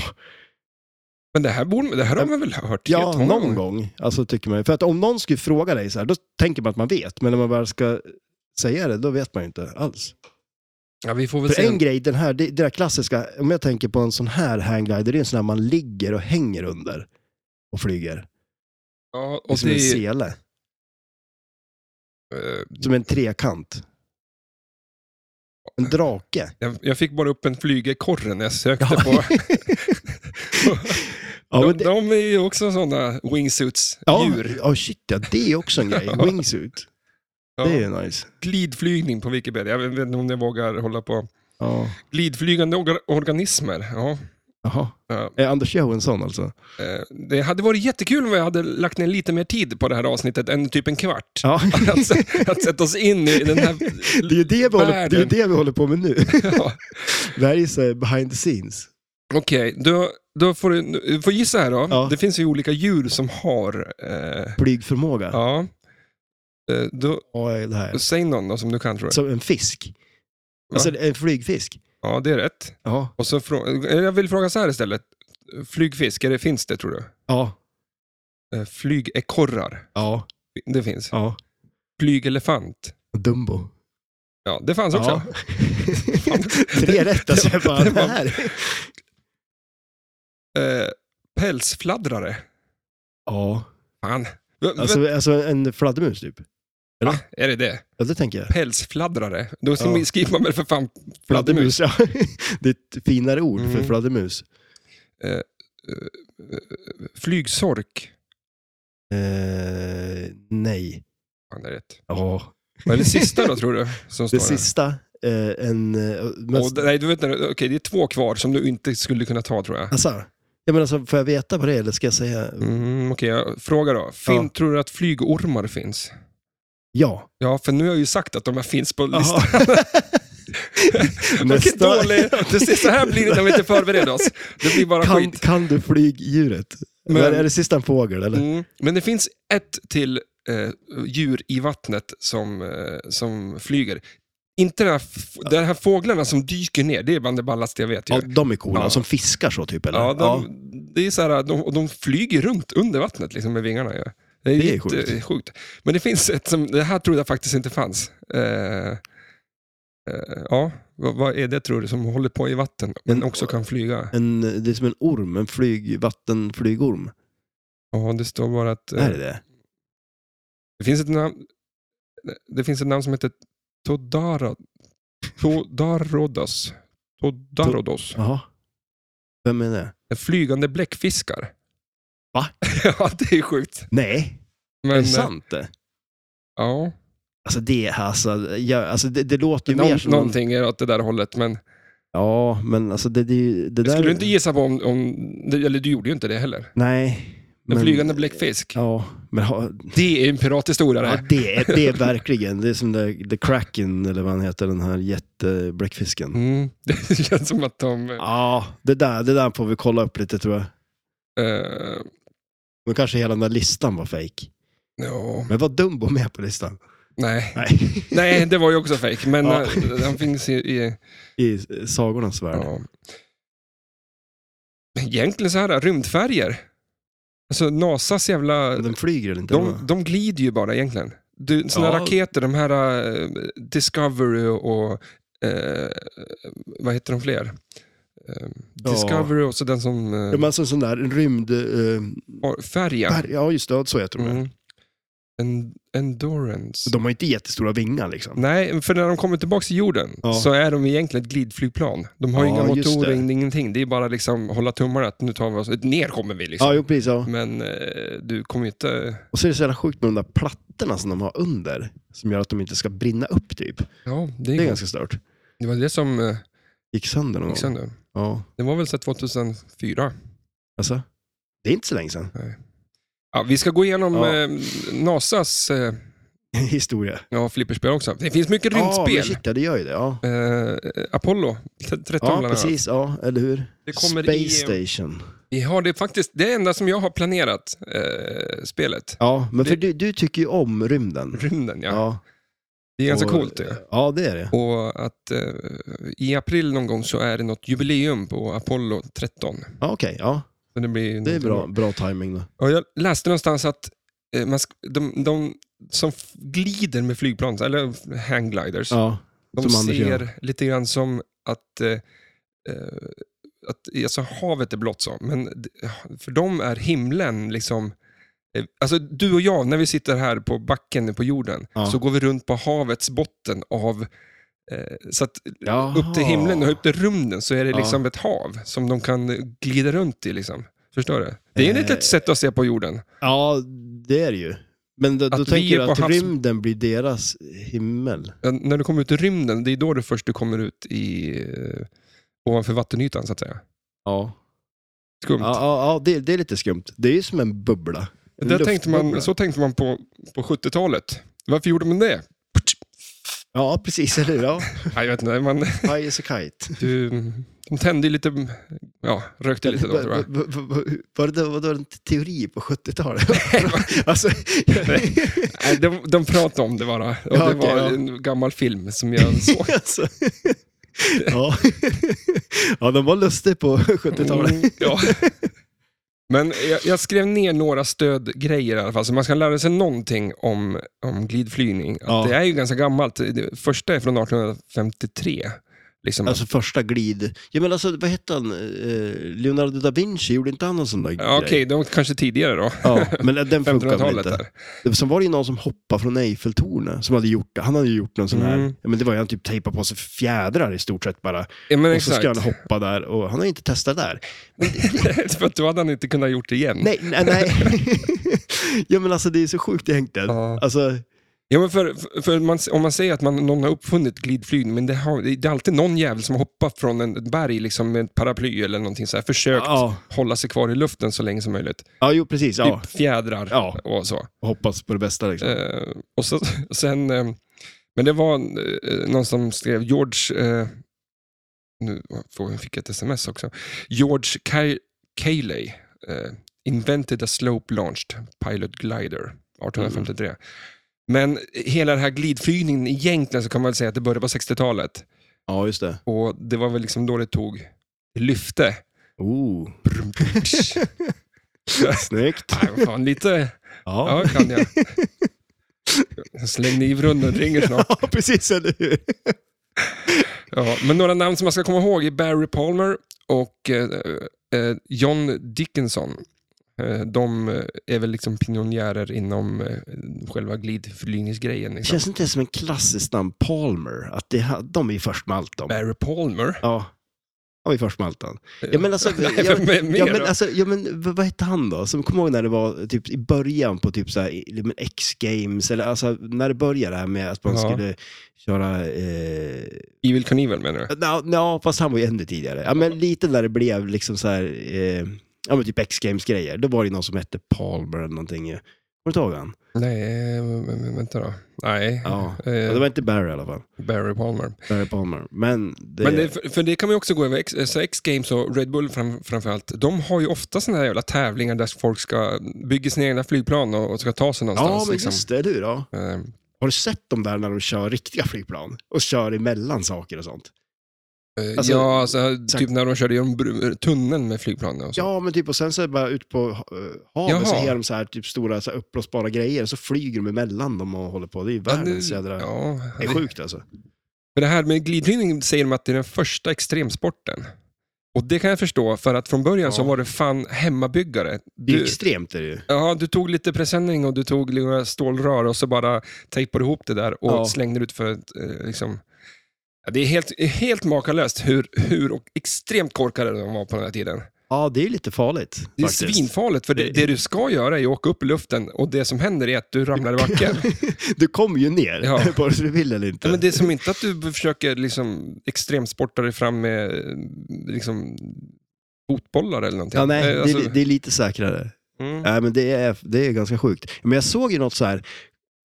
Men det här, borde, det här har man väl hört?
Ja,
jättemånga
någon
gånger.
gång. Alltså, tycker man. För att om någon skulle fråga dig så här, då tänker man att man vet. Men när man väl ska säga det, då vet man ju inte alls.
Ja, vi får väl
För
se.
en grej, den här, det, det där klassiska, om jag tänker på en sån här hangglider, det är en sån här man ligger och hänger under och flyger.
Ja,
Och
och
som en
det,
sele,
eh,
som en trekant. En drake.
jag, jag fick bara upp en flygekorre när jag sökte
Ja.
på...
[LAUGHS] Ja,
de,
men det,
de är ju också sådana wingsuits,
ja,
djur.
ja, shit ja, det är
[LAUGHS]
också en grej. Wingsuit,
Ja.
det är nice.
Glidflygning på Wikipedia, jag vet inte om jag vågar hålla på.
Ja.
Glidflygande orga- organismer, ja.
Jaha.
ja.
Är Anders Johansson alltså?
Eh, Det hade varit jättekul om vi hade lagt ner lite mer tid på det här avsnittet än typ en kvart. [LAUGHS]
Ja.
Att, att sätta oss in i den här...
[LAUGHS] Det är ju det vi håller, det är ju
Världen.
det vi håller på med nu.
Ja.
Det här är ju så här behind the scenes.
Okej, då, då får du, du får gissa här då.
Ja.
Det finns ju olika djur som har... Eh,
Flygförmåga. Ja.
ja. Eh, då,
det här.
säg någon då som du kan tror jag.
Som en fisk. Alltså en flygfisk.
Ja, det är rätt.
Ja.
Och så frå, eh, jag vill fråga så här istället. Flygfisk, är det, finns det tror du?
Ja.
Eh, Flygekorrar,
Ja.
det finns.
Ja.
Flygelefant,
Dumbo.
ja det fanns Alltså också.
Ja. [LAUGHS] Tre rätt alltså. Jag bara,
Det var-
det här.
Eh, pälsfladdrare,
Ja.
fan. V- v-
Alltså, alltså en fladdermus typ.
va? Är det det?
Ja, det tänker jag.
Pälsfladdrare, då
Ja.
skriver man väl för fan fladdermus.
Fladdermus, ja. [LAUGHS] Det är ett finare ord för
Mm.
fladdermus.
Flygsork,
Eh, nej.
fan det är rätt.
Ja.
Vad är det sista då tror du? Som står
Det
här?
sista, eh, en... eh,
Och,
mest-
nej, du vet, när du- okej, det är två kvar som du inte skulle kunna ta tror jag.
Alltså, Jag menar, så får jag veta vad det är eller ska jag säga
Mm, Okej, jag frågar då. Fin,
Ja.
Tror du att flygormar finns?
ja?
Ja, för nu har jag ju sagt att de här finns på listan.
[LAUGHS] Jaha.
[LAUGHS] Vilken
[LAUGHS]
dålig... Precis så här blir det när vi inte förbereder oss. Det blir bara
kan,
skit.
kan du flygdjuret?
Men-
Men... Är det sist en fågel eller?
Mm. Men det finns ett till eh, djur i vattnet som, eh, som flyger. Inte de här, f- de här fåglarna som dyker ner, det är bland det ballaste jag vet. Ju.
Ja, de är coola,
Ja.
som fiskar så typ eller?
Ja, de, Det är så här, de, och de flyger runt under vattnet liksom, med vingarna. Ja. Det
Det är
jätte-
sjukt.
sjukt. Men det finns ett som, det här trodde jag faktiskt inte fanns. Eh, eh, ja, vad, vad är det tror du som håller på i vatten men
En-
också kan flyga?
En, det är som en orm, en flyg, vattenflygorm.
Ja, det står bara att eh,
Är det det?
det, finns ett namn, det finns ett namn som heter Todara, Todarodos. Todarodos.
Jaha. Vem är det?
Flygande bläckfiskar.
Va?
[LAUGHS] ja, det är sjukt.
Nej,
Men,
är det
eh,
sant det?
Ja.
Alltså det, alltså, jag, alltså det, det låter ju
Nå-
mer som... någon-
någonting är åt det där hållet, men
Ja, men alltså det, det, det
det
där...
skulle du inte gissa på om, om... Eller du gjorde ju inte det heller.
Nej.
En
men-
flygande bläckfisk.
Ja, men ha,
Det är en pirathistoria det.
ja,
här.
det, är- det är verkligen, det är som the, the Kraken eller vad han heter, den här jättebläckfisken.
Mm. [LAUGHS] Det känns som att de...
Ja, det där, det där får vi kolla upp lite tror jag.
eh,
Men kanske hela den där listan var fejk.
ja,
Men var Dumbo med på listan?
nej.
Nej,
Nej, det var ju också fejk, men
Ja.
eh, den finns i... i
i eh, sagornas värld.
ja. Egentligen så här, rymdfärger. Alltså Nasas jävla...
Den flyger eller inte?
De, de glider ju bara egentligen. Du, såna
Ja.
raketer, de här eh, Discovery och... Eh, vad heter de fler? Eh,
Ja.
Discovery och så den som... Eh,
Ja, men alltså en sån där en rymd... eh,
har- Färja.
berg- ja, just det. Så heter de.
Mm. En, endurance.
De har inte jättestora vingar liksom.
Nej, för när de kommer tillbaka till jorden
Ja.
så är de egentligen ett glidflygplan. De har ju
Ja,
inga
just
motorer,
det.
ingenting. Det är bara liksom hålla tummarna att nu tar vi oss... Ner kommer vi liksom.
Ja, jo, precis. Ja.
Men eh, du kommer ju inte...
Och så är det så jävla sjukt med de där plattorna som de har under. Som gör att de inte ska brinna upp typ.
Ja, det, är
Det är ganska stört.
det var det som eh,
Gick sönder någon
Mm. gick
gång.
sönder.
Ja.
Det var väl så 2004.
Alltså, det är inte så länge sedan. [LAUGHS]
Ja, vi ska gå igenom
Ja.
eh, Nasas eh,
Historia.
ja, flipperspel också. Det finns mycket
Ja, men
rymdspel.
shit, ja, det gör ju det. Ja,
eh, Apollo, 13
ja precis. Ja, eller hur?
Det kommer
Space
i-
Station.
Vi har det faktiskt, det är det enda som jag har planerat, eh, spelet.
Ja, men
Det-
för du, du tycker ju om rymden.
Rymden, ja.
Ja,
Det är ganska
och-
coolt det.
Ja, det är det.
Och att eh, i april någon gång så är det något jubileum på Apollo 13.
Ja, Okej, ja.
Så det, blir
Det är
någonting
bra, bra timing då.
Och jag läste någonstans att eh, man sk- de, de som f- glider med flygplan, eller hanggliders,
Ja,
De
Som Anders
ser
gör.
lite grann som att, eh, eh, att alltså, havet är blått, så, men d- för dem är himlen liksom... eh, Alltså du och jag, när vi sitter här på backen på jorden,
Ja.
så går vi runt på havets botten av... Eh, så att
Jaha.
upp till himlen och upp till rymden så är det
Ja.
liksom ett hav som de kan eh, glida runt i. Liksom. Förstår du? Det är ju ett
Eh.
litet sätt att se på jorden.
Ja, det är det ju. Men då,
Att vi
då tänker
är
du
på
att
havs-
rymden blir deras himmel.
Eh, När du kommer ut i rymden, det är då du först du kommer ut i, eh, ovanför vattenytan så att säga.
Ja,
Skumt.
ja, ja, ja det, det är lite skumt. Det är ju som en bubbla. En
Där tänkte man,
luftbubbla.
så tänkte man på, på 70-talet. Varför gjorde man
[LAUGHS]
det?
Ja, precis. Eller hur?
[LAUGHS]
Ja.
Nej, jag vet inte, man,
High as a kite.
du, de tände ju lite, ja, rökte lite då tror
[LAUGHS]
jag.
Va- va- va- Var det, var det en teori på 70-talet?
[LAUGHS]
[LAUGHS] alltså,
Nej, de, de pratade om det bara. Och
Ja,
det
okej,
var
ja.
en gammal film som jag såg.
[LAUGHS] alltså. ja. [LAUGHS] ja, de var lustiga på 70-talet.
Mm, [LAUGHS] ja. Men jag, jag skrev ner några stödgrejer i alla fall, så man ska lära sig någonting om, om glidflygning. Att
Ja.
Det är ju ganska gammalt. Det första är från 1853. Liksom.
Alltså första glid. Ja, men alltså, vad hette han? Eh, Leonardo da Vinci, gjorde inte han någon sån där
ja, Okej,
grej?
de var kanske tidigare då.
Ja,
[LAUGHS]
men den funkar väl
1500-talet.
inte.
Där.
Sen var det ju någon som hoppade från Eiffeltornet som hade gjort det. Han hade ju gjort någon sån
Mm.
här, ja, men det var ju han typ tejpade på sig fjädrar i stort sett bara.
Ja, men
och så ska
exakt.
han hoppa där och han har ju inte testat där.
[LAUGHS] För att då hade han inte kunnat gjort det igen.
[LAUGHS] Nej, nej, nej. ja men alltså det är så sjukt egentligen.
Ja.
Alltså,
Ja, men för, för man, om man säger att man, någon har uppfunnit glidflygning, men det, har, det är alltid någon jävel som har hoppat från en, ett berg liksom, med ett paraply eller någonting så här. Försökt
Ja,
hålla sig kvar i luften så länge som möjligt.
ja jo, precis. Ja.
Typ fjädrar
Ja.
och så.
Hoppas på det bästa liksom.
Eh, och så, [LAUGHS] sen, eh, men det var eh, någon som skrev George, eh, nu får- fick jag ett sms också, George Ca- Cayley eh, invented a slope launched pilot glider 1853. Men hela den här glidflygningen egentligen så kan man väl säga att det började på 60-talet
Ja, just det.
och det var väl liksom då det tog lyfte.
Oh,
Brum, brum, tsch.
snyggt.
Nej, vad fan, lite,
Ja,
ja kan jag. Jag slängde ivrunden, ringer snart.
[LAUGHS] ja precis. Eller hur?
Ja, men några namn som man ska komma ihåg är Barry Palmer och eh, eh, John Dickinson. Eh, de eh, är väl liksom pionjärer inom eh, själva glidflygningsgrejen.
Det
Liksom.
känns inte ens som en klassisk namn, Palmer. Att det, ha- de är ju först med allt de.
Barry Palmer?
Ja. Han var ju först med allt han. Ja, men alltså,
[LAUGHS] Nej,
jag,
vem är mer
ja, men
då?
alltså, ja, men v- vad hette han då? Som kommer ihåg när det var typ i början på typ så här, i- men X-games, eller alltså när det började det här med att man
Ja.
skulle köra... Eh,
Evil Knievel menar du?
ja, ja, fast han var ju ännu tidigare. Ja, men lite när det blev liksom så här, eh, ja men typ X-games-grejer. Då var det ju någon som hette Palmer eller någonting. Kommer du inte ihåg han?
Nej, eh, vä- vä- vänta då. Nej,
Ja.
eh,
Ja, det var inte Barry i alla fall.
Barry Palmer.
Barry Palmer. Men det...
Men det, för, för det kan man ju också gå över, X- eh, så X-Games och Red Bull fram, framförallt, de har ju ofta sådana här jävla tävlingar där folk ska bygga sina egna flygplan och, och ska ta sig någonstans.
ja, men
liksom.
just det. Du då?
Eh,
Har du sett dem där när de kör riktiga flygplan? Och kör emellan saker och sånt?
Eh,
Alltså,
ja, alltså,
exakt.
typ när de körde genom br- tunneln med flygplanen. Och så.
Ja, men typ och sen så är det bara ut på eh, havet
Jaha.
så är de så här typ stora så här, uppblåsbara grejer och så flyger de emellan dem och håller på. Det är ju
Ja, nu-
världens jädra...
ja,
Det är sjukt alltså.
För det här med glidflygning säger de att det är den första extremsporten. Och det kan jag förstå, för att från början
Ja.
så var det fan hemmabyggare.
Det är ju
Du,
extremt är det ju.
ja, du tog lite presenning och du tog några stålrör och så bara tejpade ihop det där och
Ja.
slängde ut för ett, eh, liksom... Ja, det är helt, helt makalöst hur, hur och extremt korkade de var på den här tiden.
Ja, det är ju lite farligt.
Det är
faktiskt.
svinfarligt, för det,
Det-
det du ska göra är att åka upp i luften och det som händer är att du ramlar i
[LAUGHS]
backen.
Du kommer ju ner,
Ja.
[LAUGHS] vare sig du vill eller inte.
Ja, men det är som inte att du försöker liksom extremsporta dig fram med eh, liksom, fotbollar eller någonting.
Ja, nej,
Eh, alltså,
det, är- det är lite säkrare.
mm.
Nej, men det är, det är ganska sjukt. Men jag såg ju något så här,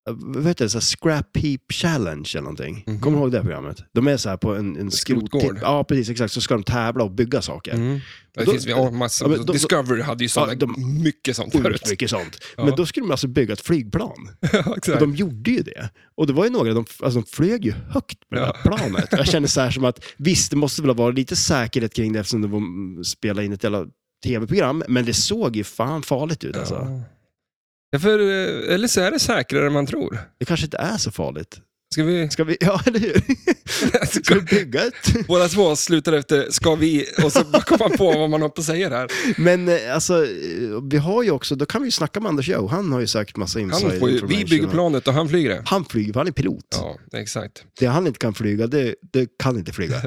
eh, vad heter det, så här scrap heap challenge eller någonting.
Mhm.
Kommer du ihåg det här programmet? De är så här på en, en
Skrotgård.
skrottipp. Ja, precis, exakt. Så ska de tävla och bygga saker.
Mm. Det
Då-
finns ja, massor.
Ja, men de-
Discovery hade ju sådana,
Ja, de-
mycket sånt
Sjukt
förut.
mycket sånt.
Ja.
Men då skulle de alltså bygga ett flygplan.
[LAUGHS] Ja, exakt.
Och de gjorde ju det. Och det var ju några, de, alltså de flög ju högt med det här planet. Jag kände så här
[LAUGHS]
som att, visst det måste väl ha varit lite säkerhet kring det eftersom de var- spelade in ett jävla tv-program, men det såg ju fan farligt ut alltså.
ja. Ja, för, eh, eller så är det säkrare än man tror.
Det kanske inte är så farligt.
Ska vi... [LAUGHS]
Ska vi, [LAUGHS] ja eller hur? Ska vi bygga ett?
Båda två slutar efter ”ska vi” och så bara kommer man på vad man har på att säga där.
Men eh, alltså, eh, vi har ju också, då kan vi ju snacka med Anders Joe, han har ju säkert massa insider
Han får ju, vi
information.
bygger planet och han flyger det.
Han flyger, för han är pilot.
Ja, exakt.
Det han inte kan flyga, det, det kan inte flyga.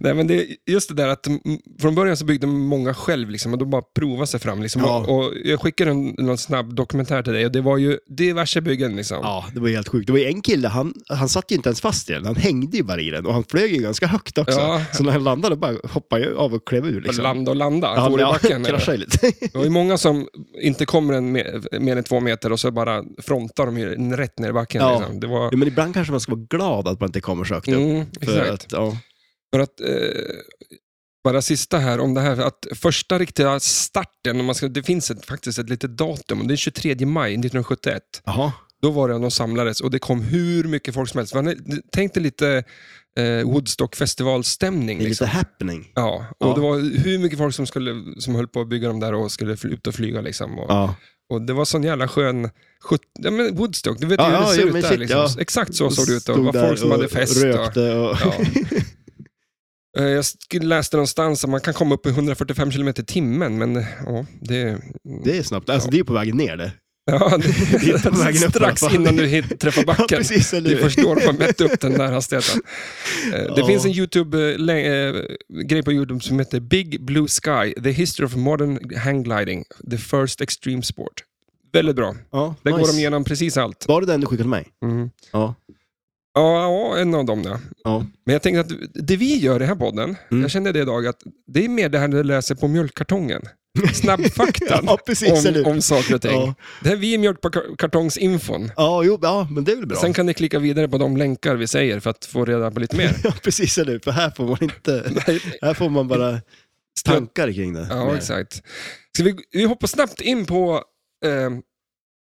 Nej, men det, just det där att mm, från början så byggde många själv liksom, och då bara prova sig fram. Liksom,
Ja.
och, och jag skickade en någon snabb dokumentär till dig och det var ju diverse byggen. Liksom.
Ja, det var helt sjukt. Det var ju en kille, han, han satt ju inte ens fast i den. Han hängde ju bara i den och han flög ju ganska högt också.
Ja.
Så när han landade bara hoppade jag av och klev ur.
Liksom.
Liksom.
Landa och landa,
Ja,
for i
ja, [LAUGHS]
backen.
kraschade ju lite.
Det var ju många som inte kommer en me- mer än två meter och så bara frontar de ju rätt ner i backen.
Ja.
Liksom. Det var,
ja, men ibland kanske man ska vara glad att man inte kommer så högt upp.
mm,
För
exakt.
att, ja.
För att, eh, bara sista här om det här, att första riktiga starten, om man ska, det finns ett, faktiskt ett litet datum, och det är 23 maj 1971.
Jaha.
Då var det de samlades och det kom hur mycket folk som helst. Man- Tänk dig lite eh, Woodstock-festivalstämning.
Det är lite
Liksom.
happening.
Ja, och
Ja.
det var hur mycket folk som, skulle, som höll på att bygga dem där och skulle fly- ut och flyga. Liksom. Och,
Ja.
och det var sån jävla skön... sjut- Ja, men Woodstock, du vet
Ja,
ju hur
ja,
det ser
jo,
ut
men
där.
shit,
liksom.
ja.
Exakt så såg det ut. Och det
Stod
var
där
folk som hade fest.
Och
Och,
rökte och...
ja. Eh, Jag sk- läste någonstans att man kan komma upp i 145 km i timmen, men eh, ja,
[LAUGHS]
det...
[LAUGHS] Det är snabbt. Alltså, det är på vägen ner det.
Ja, det, [LAUGHS]
Det är på vägen upp i alla
strax
fall.
innan du hit, träffar
[LAUGHS] Ja,
backen.
precis. Eller
Du
hur?
förstår att man mätte upp den
[LAUGHS]
där hastigheten. Eh, Det
Ja.
finns en eh, YouTube-grej på YouTube som heter Big Blue Sky, The History of Modern Hang Gliding, The First Extreme Sport. Väldigt bra.
Ja,
Där går
nice.
de igenom precis allt.
Var det den du skickade till mig?
Mm.
Ja.
Ja, ja, en av dem ja.
ja.
Men jag tänkte att det vi gör i den här podden,
Mm.
jag kände det idag, att det är mer det här du läser på
[LAUGHS]
mjölkkartongen. Snabbfaktan
ja, precis. eller
om,
hur?
om saker och ting.
Ja.
Det här vi är mjölkkartongsinfon.
Ja, jo, ja, men det är väl bra.
Sen kan ni klicka vidare på de länkar vi säger för att få reda på lite
[LAUGHS]
mer.
Ja, precis. Eller hur? För här får man inte...
Nej,
Här får man bara tankar kring det.
ja,
Mer.
exakt. Ska vi, vi hoppar snabbt in på... ehm, [LAUGHS]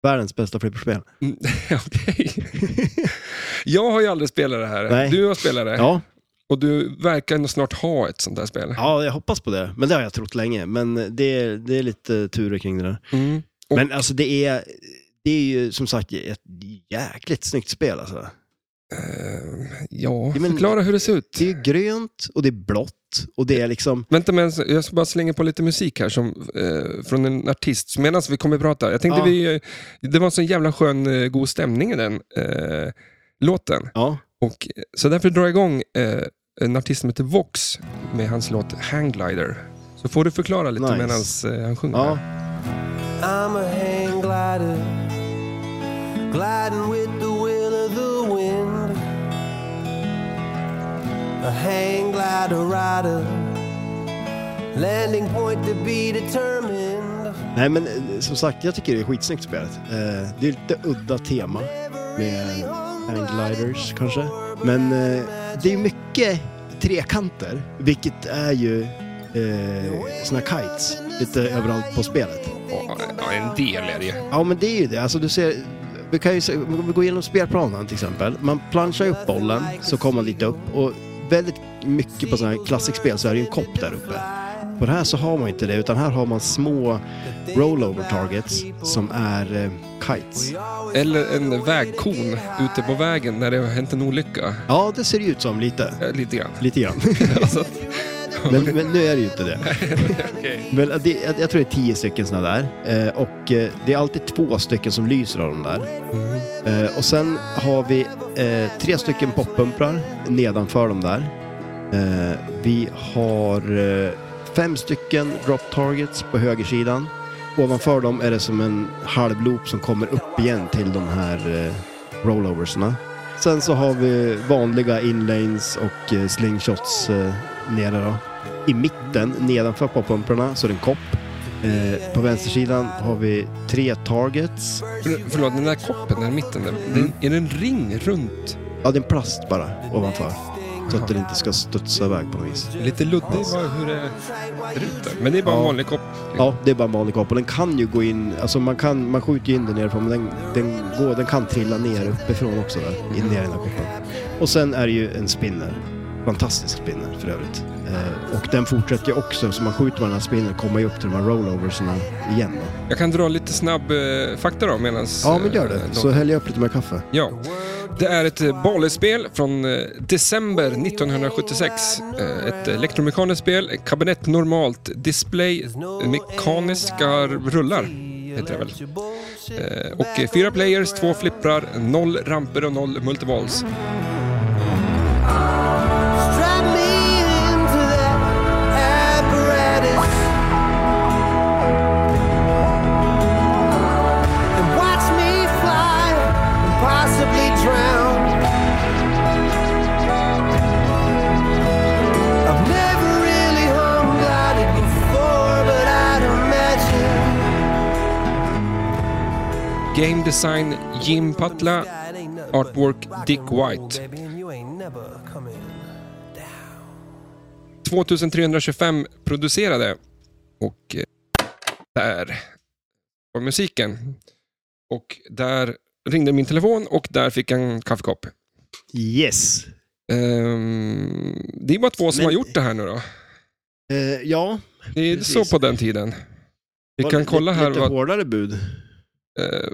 Världens bästa flipperspel.
mm,
[LAUGHS]
Okej. Jag har ju aldrig spelat det här.
Nej.
Du har spelat det.
Ja.
Och du verkar ändå snart ha ett sånt här spel.
ja, jag hoppas på det. Men det har jag trott länge. Men det är, det är lite turer kring det där.
Mm. Och-
Men alltså det är, det är ju som sagt ett jäkligt snyggt spel. Alltså.
Ehm, ja,
Ja, men-
förklara hur det ser ut.
Det är ju grönt och det är blått och det är liksom...
Vänta, men jag ska bara slänga på lite musik här som, eh, från en artist som- medan vi kommer prata. Jag tänkte
Ja.
vi, eh, det var en sån jävla skön, eh, god stämning i den eh, låten.
Ja,
Och, eh, så därför drar jag igång eh, en artist som heter Vox med hans låt Hangglider. Så får du förklara lite
Nice.
medans medan eh, han sjunger.
ja.
I'm a hang glider, gliding with the will of the wind. A hang glider rider, landing point to be determined.
Nej men eh, som sagt, jag tycker det är skitsnyggt spelet. Eh, det är lite udda tema med hanggliders kanske. Men eh, det är mycket trekanter, vilket är ju eh, såna kites lite överallt på spelet.
Och, eh, ja, en del är det ju.
Ja men det är ju det, alltså du ser, vi kan ju se, om vi går igenom spelplanen till exempel. Man planchar ju upp bollen, så kommer man lite upp och väldigt mycket på sådana här klassikspel så är det ju en kopp där uppe. På det här så har man inte det, utan här har man små rollover targets som är eh, kites.
Eller en vägkon ute på vägen när det har hänt en olycka.
Ja, det ser det ut som lite.
Eh, Lite
[LAUGHS]
grann. [LAUGHS]
Lite grann.
alltså, att-
[LAUGHS] Men, men nu är det ju inte det.
[LAUGHS] okej.
Men eh, det, jag, jag tror det är tio stycken sådana där. Eh, och eh, det är alltid två stycken som lyser av de där.
Mm.
Eh, och sen har vi eh, tre stycken poppumprar nedanför de där. Eh, vi har eh, fem stycken drop targets på högersidan. Ovanför dem är det som en halv loop som kommer upp igen till de här eh, rolloversna. Sen så har vi vanliga inlanes och eh, slingshots eh, nere då. I mitten nedanför poppumprarna så är det en kopp. Eh, på vänstersidan har vi tre targets.
För, förlåt, den där koppen där i mitten, där,
Mm.
den, är det en ring runt?
Ja, det är en plast bara ovanför. Så att den inte ska studsa iväg på något vis.
Lite luddigt bara hur det ser ut där. Men det är bara en
Ja.
vanlig kopp.
Ja, det är bara en vanlig kopp och den kan ju gå in, alltså man, kan, man skjuter ju in den nerifrån men den, den, går, den kan trilla ner uppifrån också där, in ner i den här koppen. Och sen är det ju en spinner, fantastisk spinner för övrigt. Eh, och den fortsätter ju också, så man skjuter med den här spinnern kommer ju upp till de här rolloverserna igen. Då.
Jag kan dra lite snabb eh, fakta då medans...
Ja, men gör
eh,
det.
då-
Så häller jag upp lite mer kaffe.
Ja. Det är ett eh, bollespel från eh, december 1976. Eh, Ett elektromekaniskt spel, ett kabinett normalt, display, eh, mekaniska rullar heter det väl. Eh, Och eh, fyra players, två flipprar, noll ramper och noll multiballs.
Strap me into that apparatus and watch me fly and possibly drown. I've never really hung glided before, but I'd imagine
Game design Jim Patla, artwork Dick White.
Baby, and you ain't never coming.
2325 producerade och eh, där var musiken. Och där ringde min telefon och där fick jag en kaffekopp.
Yes!
Ehm, det är bara två som
Men-
har gjort det här nu då.
Eh, ja,
Det är
Precis.
så på den tiden. Vi
var
kan
lite-
kolla här
Lite
vad,
hårdare bud.
eh,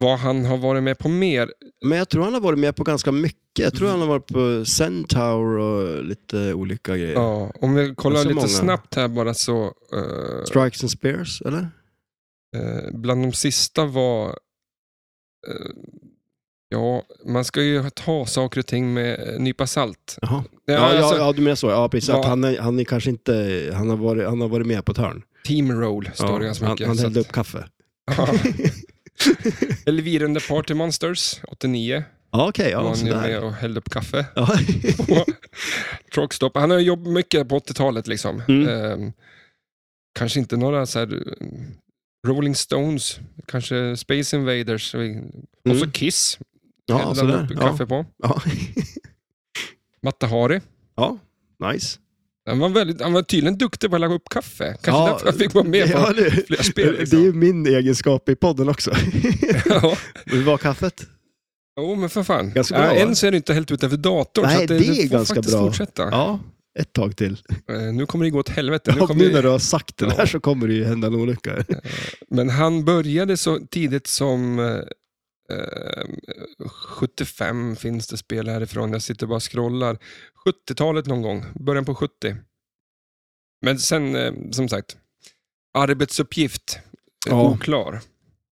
vad han har varit med på mer.
Men jag tror han har varit med på ganska mycket. Jag tror
Mm.
han har varit på Centaur och lite olika grejer.
Ja, om vi kollar
så
lite
Alltså många.
snabbt här bara så. eh,
Strikes and Spears, eller?
Eh, bland de sista var... Eh, ja, man ska ju ta saker och ting med eh, nypa salt.
Jaha.
Ja,
Ja, ja,
alltså,
ja, du menar så. Ja, precis.
Ja.
Att han, är, han är kanske inte... Han har varit, han har varit med på ett hörn.
Team roll står
Ja,
det ganska
han
mycket.
han
så
hällde
att-
upp kaffe. [LAUGHS]
Eller vi den där Party Monsters, 89.
Ja, okej.
Ja,
ja,
var han med
sådär.
och hällde upp kaffe.
Ja. [LAUGHS]
[LAUGHS] Truckstop. Han har jobbat mycket på 80-talet. Liksom.
Mm.
Ehm, kanske inte några så här, eh, Rolling Stones, kanske Space Invaders. Och så
Mm.
Kiss
ja,
hällde han
sådär.
upp
Ja.
kaffe på.
Ja. [LAUGHS]
Matta Hari.
ja, nice.
Han var, väldigt, han var tydligen duktig på att lägga upp kaffe. Kanske
Ja.
därför han fick vara med på
Ja, du.
flera spel.
Det är
Liksom.
ju min egenskap i podden också. [LAUGHS]
Ja.
Hur var kaffet?
Jo, men för fan.
Ganska
Ja,
bra, va?
än så är det inte helt utanför datorn.
Nej,
så att
det
du
är
får
ganska
faktiskt
bra.
Fortsätta.
Ja, ett tag till.
Eh, Nu kommer det gå åt helvete.
Nu, och
kommer
nu
det-
när du har sagt det
Ja.
där så kommer det ju hända en olycka.
Men han började så tidigt som eh, eh, 75 finns det spel härifrån. Jag sitter och bara och scrollar. 70-talet någon gång, början på 70. Men sen, eh, som sagt, arbetsuppgift eh,
Ja.
oklar.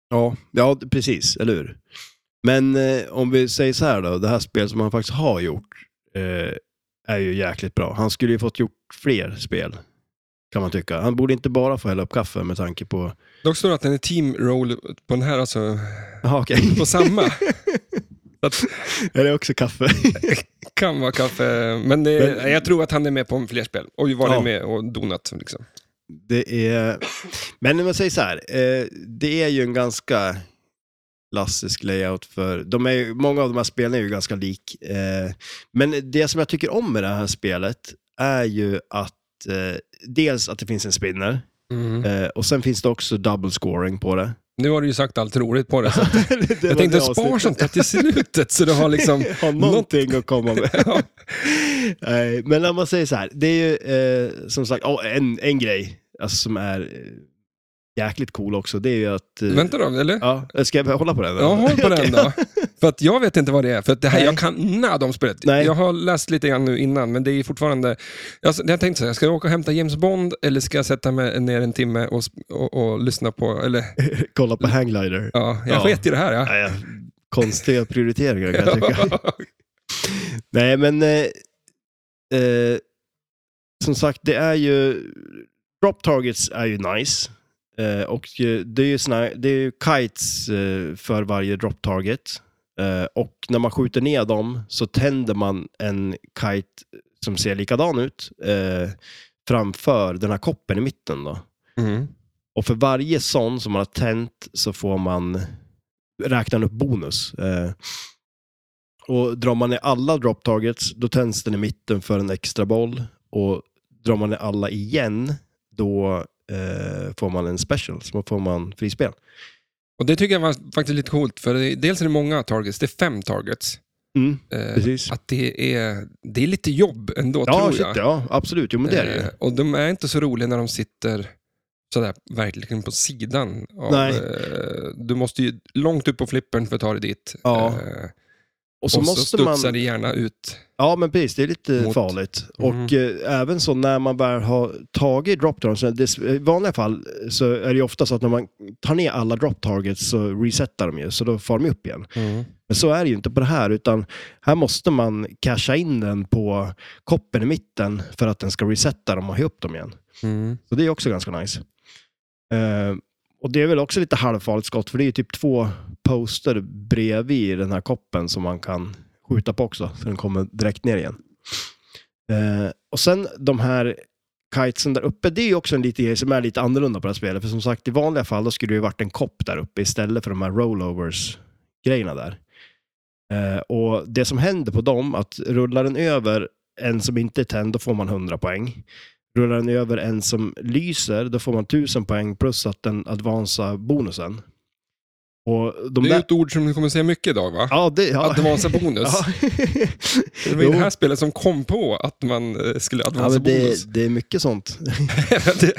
Ja, ja precis, eller hur? Men eh, om vi säger så här då, det här spelet som han faktiskt har gjort eh, är ju jäkligt bra. Han skulle ju fått gjort fler spel, kan man tycka. Han borde inte bara få hälla upp kaffe med tanke på... [LAUGHS]
Dock står det att den är team roll på den här, alltså
Jaha, okej.
på samma.
[LAUGHS] är det också kaffe? [LAUGHS]
kan vara kaffe, men, det,
Men-
jag tror att han är med på fler spel. Och ju varit
Ja.
med och donat. Liksom.
det är... Men om man säger så här, eh, det är ju en ganska klassisk layout för... De är ju, många av de här spelen är ju ganska lik. Eh, men det som jag tycker om med det här spelet är ju att eh, dels att det finns en spinner, Eh, och sen finns det också double scoring på det.
Nu har du ju sagt allt roligt på det. Så
[LAUGHS] Det var
jag tänkte
det
spara
avsnittet.
sånt här till slutet, så du har liksom...
[LAUGHS] Ha någonting att komma med. [LAUGHS]
Ja.
Nej, men om man säger så här, det är ju eh, som sagt ja, en, en grej alltså, som är eh, jäkligt cool också. Det är ju att... Eh,
Vänta då, eller?
Ja, ska jag hålla på den?
Ja, håll på
[LAUGHS]
den då. För att jag vet inte vad det är. För att det här,
Nej.
jag kan nada om spelet.
Nej.
Jag har läst lite grann nu innan, men det är fortfarande... Alltså, jag tänkte så här, ska jag åka och hämta James Bond eller ska jag sätta mig ner en timme och, sp- och, och lyssna på... Eller,
Kolla på Hanglider.
ja, jag
Ja.
sket i det här. Ja.
Nej, ja, konstiga prioriteringar kan jag
[LAUGHS]
tycka. Nej, men eh, eh, som sagt, det är ju... Drop targets är ju nice. Eh, och eh, det är ju, såna, här- det är ju kites eh, för varje drop target. Eh, och när man skjuter ner dem så tänder man en kite som ser likadan ut eh, framför den här koppen i mitten. Då.
Mm.
Och för varje sån som man har tänt så får man räkna upp bonus. Eh, och drar man ner alla drop targets, då tänds den i mitten för en extra boll. Och drar man ner alla igen, då eh, får man en special, så får man frispel.
Och det tycker jag var faktiskt lite coolt, för det, dels är det många targets, det är fem targets.
Mm,
Eh,
precis.
att det är, det är lite jobb ändå,
Ja,
tror
shit,
jag.
ja, absolut. Jo, men det är det ju.
Eh, Och de är inte så roliga när de sitter sådär verkligen liksom på sidan. Av,
Nej.
eh, Du måste ju långt upp på flippern för att ta dig dit.
Ja.
Eh,
Och
Och
så
så,
måste
studsar
man...
det gärna ut.
Ja, men precis. Det är lite
Mot-
farligt.
Mm.
Och eh, även så när man väl har tagit drop targets, så det- i vanliga fall så är det ju ofta så att när man tar ner alla drop targets så resetar de ju, så då far de upp igen. Men så är det ju inte på det här, utan här måste man casha in den på koppen i mitten för att den ska resetta dem och ha upp dem igen.
Mm.
Så det är också ganska nice. Eh, och det är väl också lite halvfarligt skott, för det är ju typ två poster bredvid den här koppen som man kan skjuta på också, så den kommer direkt ner igen. Eh, och sen de här kitesen där uppe, det är ju också en liten grej som är lite annorlunda på det här spelet. För som sagt, i vanliga fall då skulle det ju varit en kopp där uppe istället för de här rollovers-grejerna där. Eh, och det som händer på dem, att rullar den över en som inte är tänd, då får man 100 poäng. Rullar den över en som lyser, då får man 1000 poäng plus att den advansa bonusen. Och de
Det är ju
där...
ett ord som du kommer säga mycket idag, va?
Ja, det... Ja.
Advansa bonus.
[LAUGHS] Ja. [LAUGHS]
Det var ju
Jo.
det här spelet som kom på att man eh, skulle
Ja,
advansa
men
bonus. [LAUGHS]
det, det är mycket sånt.
Det-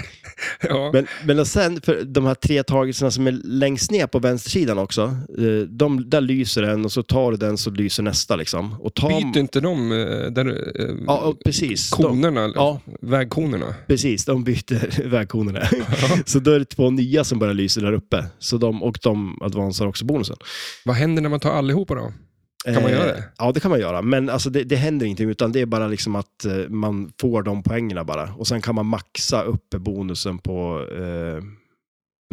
ja.
Men, men och sen, för de här tre tagelserna som är längst ner på vänstersidan också, eh, de, där lyser en och så tar du den så lyser nästa. Liksom. Och tar,
Byter inte de eh, där, eh,
Ja, och precis. De,
konerna,
ja,
vägkonerna?
precis. De byter [LAUGHS] vägkonerna. så då är det två nya som börjar lysa där uppe. Så de, och de advansar också bonusen.
Vad händer när man tar allihopa då? Kan man göra det?
Eh, Ja, det kan man göra. Men alltså, det, det händer ingenting, utan det är bara liksom att eh, man får de poängerna bara. Och sen kan man maxa upp bonusen på eh,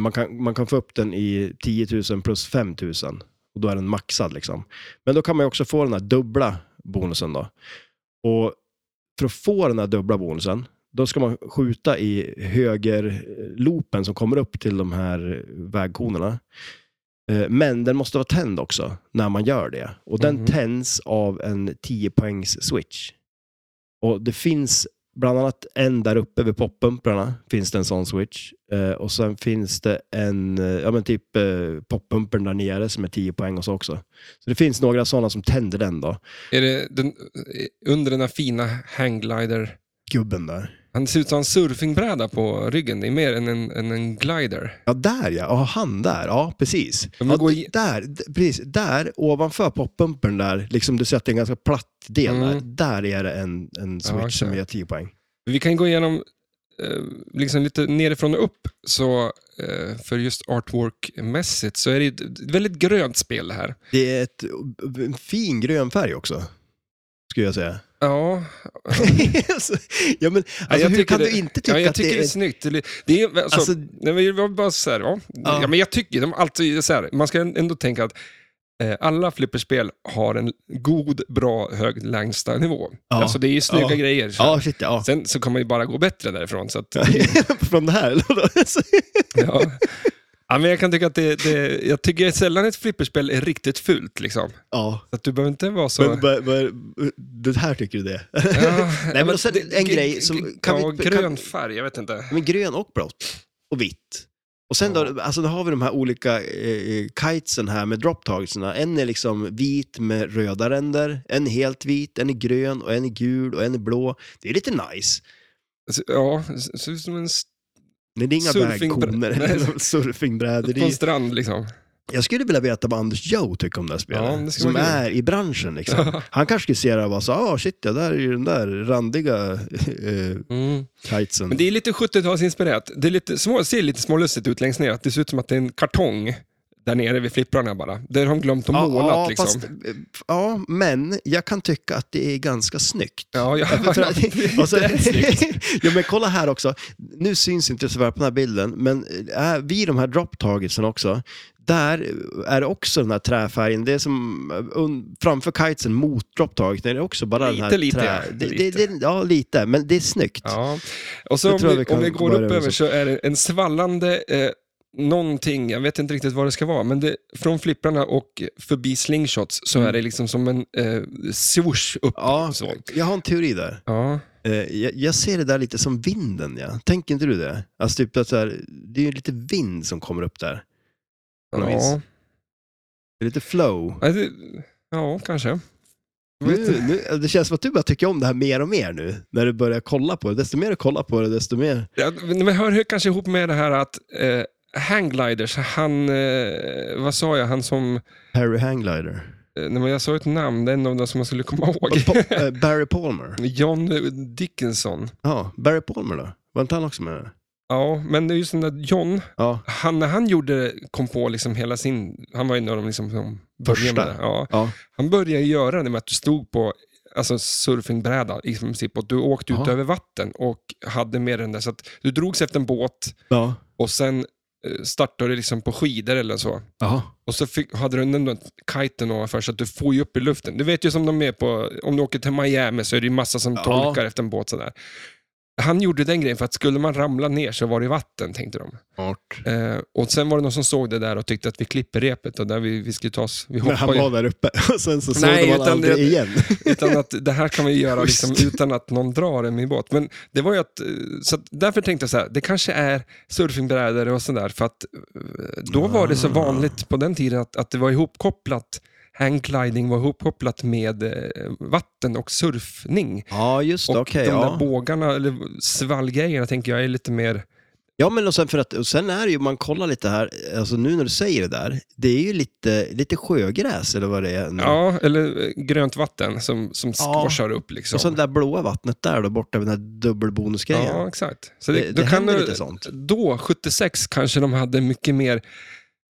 Man kan, man kan få upp den i 10 000 plus 5 000 och då är den maxad. Liksom. Men då kan man ju också få den här dubbla bonusen. Då. Och för att få den här dubbla bonusen, då ska man skjuta i högerloopen som kommer upp till de här vägkonerna. Eh, Men den måste vara tänd också när man gör det. Och den
Mhm.
tänds av en 10 poängs switch. Och det finns bland annat en där uppe vid poppumprarna, finns det en sån switch. Eh, och sen finns det en, eh, ja men typ eh, poppumpern där nere som är 10 poäng och så också. Så det finns några sådana som tänder den då.
Är det den, eh, under den här fina hangglider...
Gubben där.
Han ser ut som en surfingbräda på ryggen. Det är mer än en, än en glider.
Ja, där ja. Ja, han där. Ja, precis.
Men man
Ja,
går
d-
i-
där, d- precis. Där, ovanför poppumpern där, liksom du ser att det är en ganska platt del där.
Mm.
Där är det en, en switch
okej.
som ger 10 poäng.
Vi kan gå igenom eh, liksom lite nerifrån och upp. Så, eh, för just artwork-mässigt så är det ju ett väldigt grönt spel det här.
Det är ett, en fin grön färg också, skulle jag säga.
Ja,
[LAUGHS] Alltså, ja, men, alltså,
jag
hur
tycker
kan
det-
du inte tycka
ja jag
att det
tycker det är,
är...
snyggt. Det- Det är, alltså,
Alltså-
nej, men det var bara så här, ja.
Ja.
Ja, men jag tycker, de, alltså, det är så här, man ska ändå tänka att eh, alla flipperspel har en god, bra, hög lägsta nivå.
Ja.
Alltså det är ju snygga
Ja.
grejer. Så.
Ja, shit ja.
Sen så kan man ju bara gå bättre därifrån. Så att,
[LAUGHS] Från det här, eller?
[LAUGHS]
vadå? Alltså, [LAUGHS]
ja. Ja, men jag kan tycka att det, det, jag tycker sällan ett flipperspel är riktigt fult. Liksom.
ja,
Så att du behöver inte vara så...
men, men, men, det här tycker du det? [LAUGHS]
Ja,
men och sen en
g-
grej som-
g-
kan
ja,
vi- kan-
grön färg, jag vet inte.
Men grön och blått. Och vitt. Och sen då, alltså då har vi de här olika eh, kitesen här med dropptagelserna. En är liksom vit med röda ränder, en är helt vit, en är grön och en är gul och en är blå. Det är lite nice.
Så- Alltså, Ja, det ser ut som en st-
Men det är inga
Surfingbr- [LAUGHS]
vägkoner eller surfingbrädor.
på
Det
en
är-
strand liksom.
Jag skulle vilja veta vad Anders Joe tycker om det här spelet.
Ja, det skulle
som
vara kul.
är i branschen liksom. Han kanske skulle se det och bara så, ah shit, ja, där är ju den där randiga eh,
Mm.
kitesen.
Men det är lite 70-talsinspirerat. Det är lite små, ser lite smålustigt ut längst ner. Att det ser ut som att det är en kartong där nere vid flipprarna bara. Där har de glömt att måla. liksom.
fast, eh, ja, men jag kan tycka att det är ganska snyggt. [LAUGHS]
Ja, ja, ja,
För att- [LAUGHS] och så-
det är snyggt.
[LAUGHS] ja, men kolla här också. Nu syns inte så väl på den här bilden, men äh, vid de här drop targetsen också, där är det också den här träfärgen. Det är som eh, un, framför kitesen mot drop targeten är det också bara den
Lite,
här
lite,
trä...
ja.
Det, det,
Lite.
det, ja, lite, men det är snyggt.
[LAUGHS] Ja. Och så
Jag
om
tror
vi,
att vi kan
om vi går
börja
upp
med
över
så.
så är det en svallande eh, någonting, jag vet inte riktigt vad det ska vara, men det, från flipprarna och förbi slingshots så är det liksom som en eh, swoosh upp.
Mm. Ja,
Så.
jag har en teori där.
Ja.
Eh, jag, jag ser det där lite som vinden, ja. Tänker inte du det? Alltså typ att så här, det är ju lite vind som kommer upp där. På något vis.
Ja.
Det är lite flow.
Ja, det, ja, kanske. Mm. Jag vet
Nu,
inte.
nu, det känns som att du bara tycker om det här mer och mer nu, när du börjar kolla på det. Desto mer du kollar på det, desto mer...
Ja, men hör hör kanske ihop med det här att eh, Hanggliders, han, eh, vad sa jag, han som,
Harry Hangglider.
eh, när jag sa ett namn, det är en av dem som jag skulle komma ihåg.
Och Pa- eh, Barry Palmer.
John Dickinson.
Ja, Barry Palmer då? Var inte han också med? där?
Ja, men det är just den där John,
Ja.
han, när han gjorde, kom på liksom hela sin, han var ju en av de liksom, som började med
Första.
det. Ja,
ja.
han började göra det med att du stod på alltså surfingbräda i princip och du åkte ut
Ja.
över vatten och hade med den där. Så att du drogs efter en båt
Ja.
och sen eh, startade du liksom på skidor eller så.
Ja.
Och så fick, hade du ändå kiten ovanför så att du får ju upp i luften. Du vet ju som de är på, om du åker till Miami så är det ju massa som
Ja.
tolkar efter en båt sådär. Han gjorde den grejen för att skulle man ramla ner så var det i vatten, tänkte de.
Art.
Eh, och sen var det någon som såg det där och tyckte att vi klipper repet och där vi, vi skulle ta oss, vi
Men han
hoppar
var
ju.
där uppe [LAUGHS] och sen så såg
Nej,
de honom
utan
aldrig
det-
igen.
Utan att det här kan vi göra
Schysst.
liksom, utan att någon drar en i båt. Men det var ju att, eh, så att därför tänkte jag så här, det kanske är surfingbrädor och sådär för att eh, då var det så
Ah.
vanligt på den tiden att, att det var ihopkopplat, hanggliding var ihopkopplat med eh, vatten och surfning.
Ja, just
Och
det. Okej,
de där
ja.
bågarna, eller svallgrejerna tänker jag är lite mer,
Ja, men och sen, för att, och sen är det ju, man kollar lite här, alltså nu när du säger det där, det är ju lite, lite sjögräs eller vad det är. nu.
ja, eller eh, grönt vatten som, som squashar upp liksom.
Och sen det där blåa vattnet där då, borta vid den här dubbelbonusgrejen.
Ja, exakt. Så
Det-
det,
det
då kan
händer
du,
lite sånt.
Då, 76, kanske de hade mycket mer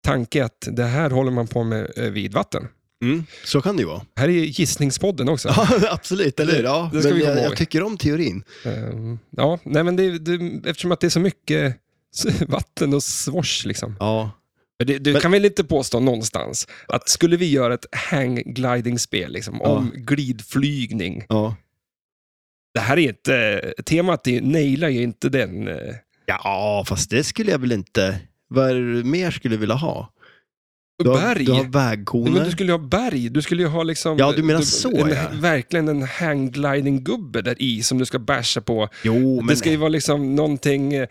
tanke att det här håller man på med eh, vid vatten.
Mm, så kan det ju vara.
Här är ju gissningspodden också.
Ja, [LAUGHS] absolut, eller hur? Ja,
Det ska
men
vi komma
jag,
ihåg.
jag tycker om teorin.
Ehm, ja nej, men det, det, eftersom att det är så mycket s- [LAUGHS] vatten och swash liksom.
Ja.
Men Du, du
Men-
kan väl inte påstå någonstans att skulle vi göra ett hang-gliding-spel liksom, om glidflygning.
Ja.
Det här är inte, temat är, nailar ju inte den. eh,
Ja, fast det skulle jag väl inte... Vad är det du mer skulle vilja ha? Du har,
berg.
Du har
Nej, men
vägkoner.
du skulle ju ha berg, du skulle ju ha liksom...
Ja, du menar så,
en,
ja.
Verkligen en hang-gliding-gubbe där i som du ska basha på.
Jo, men...
Det ska ju vara liksom någonting eh,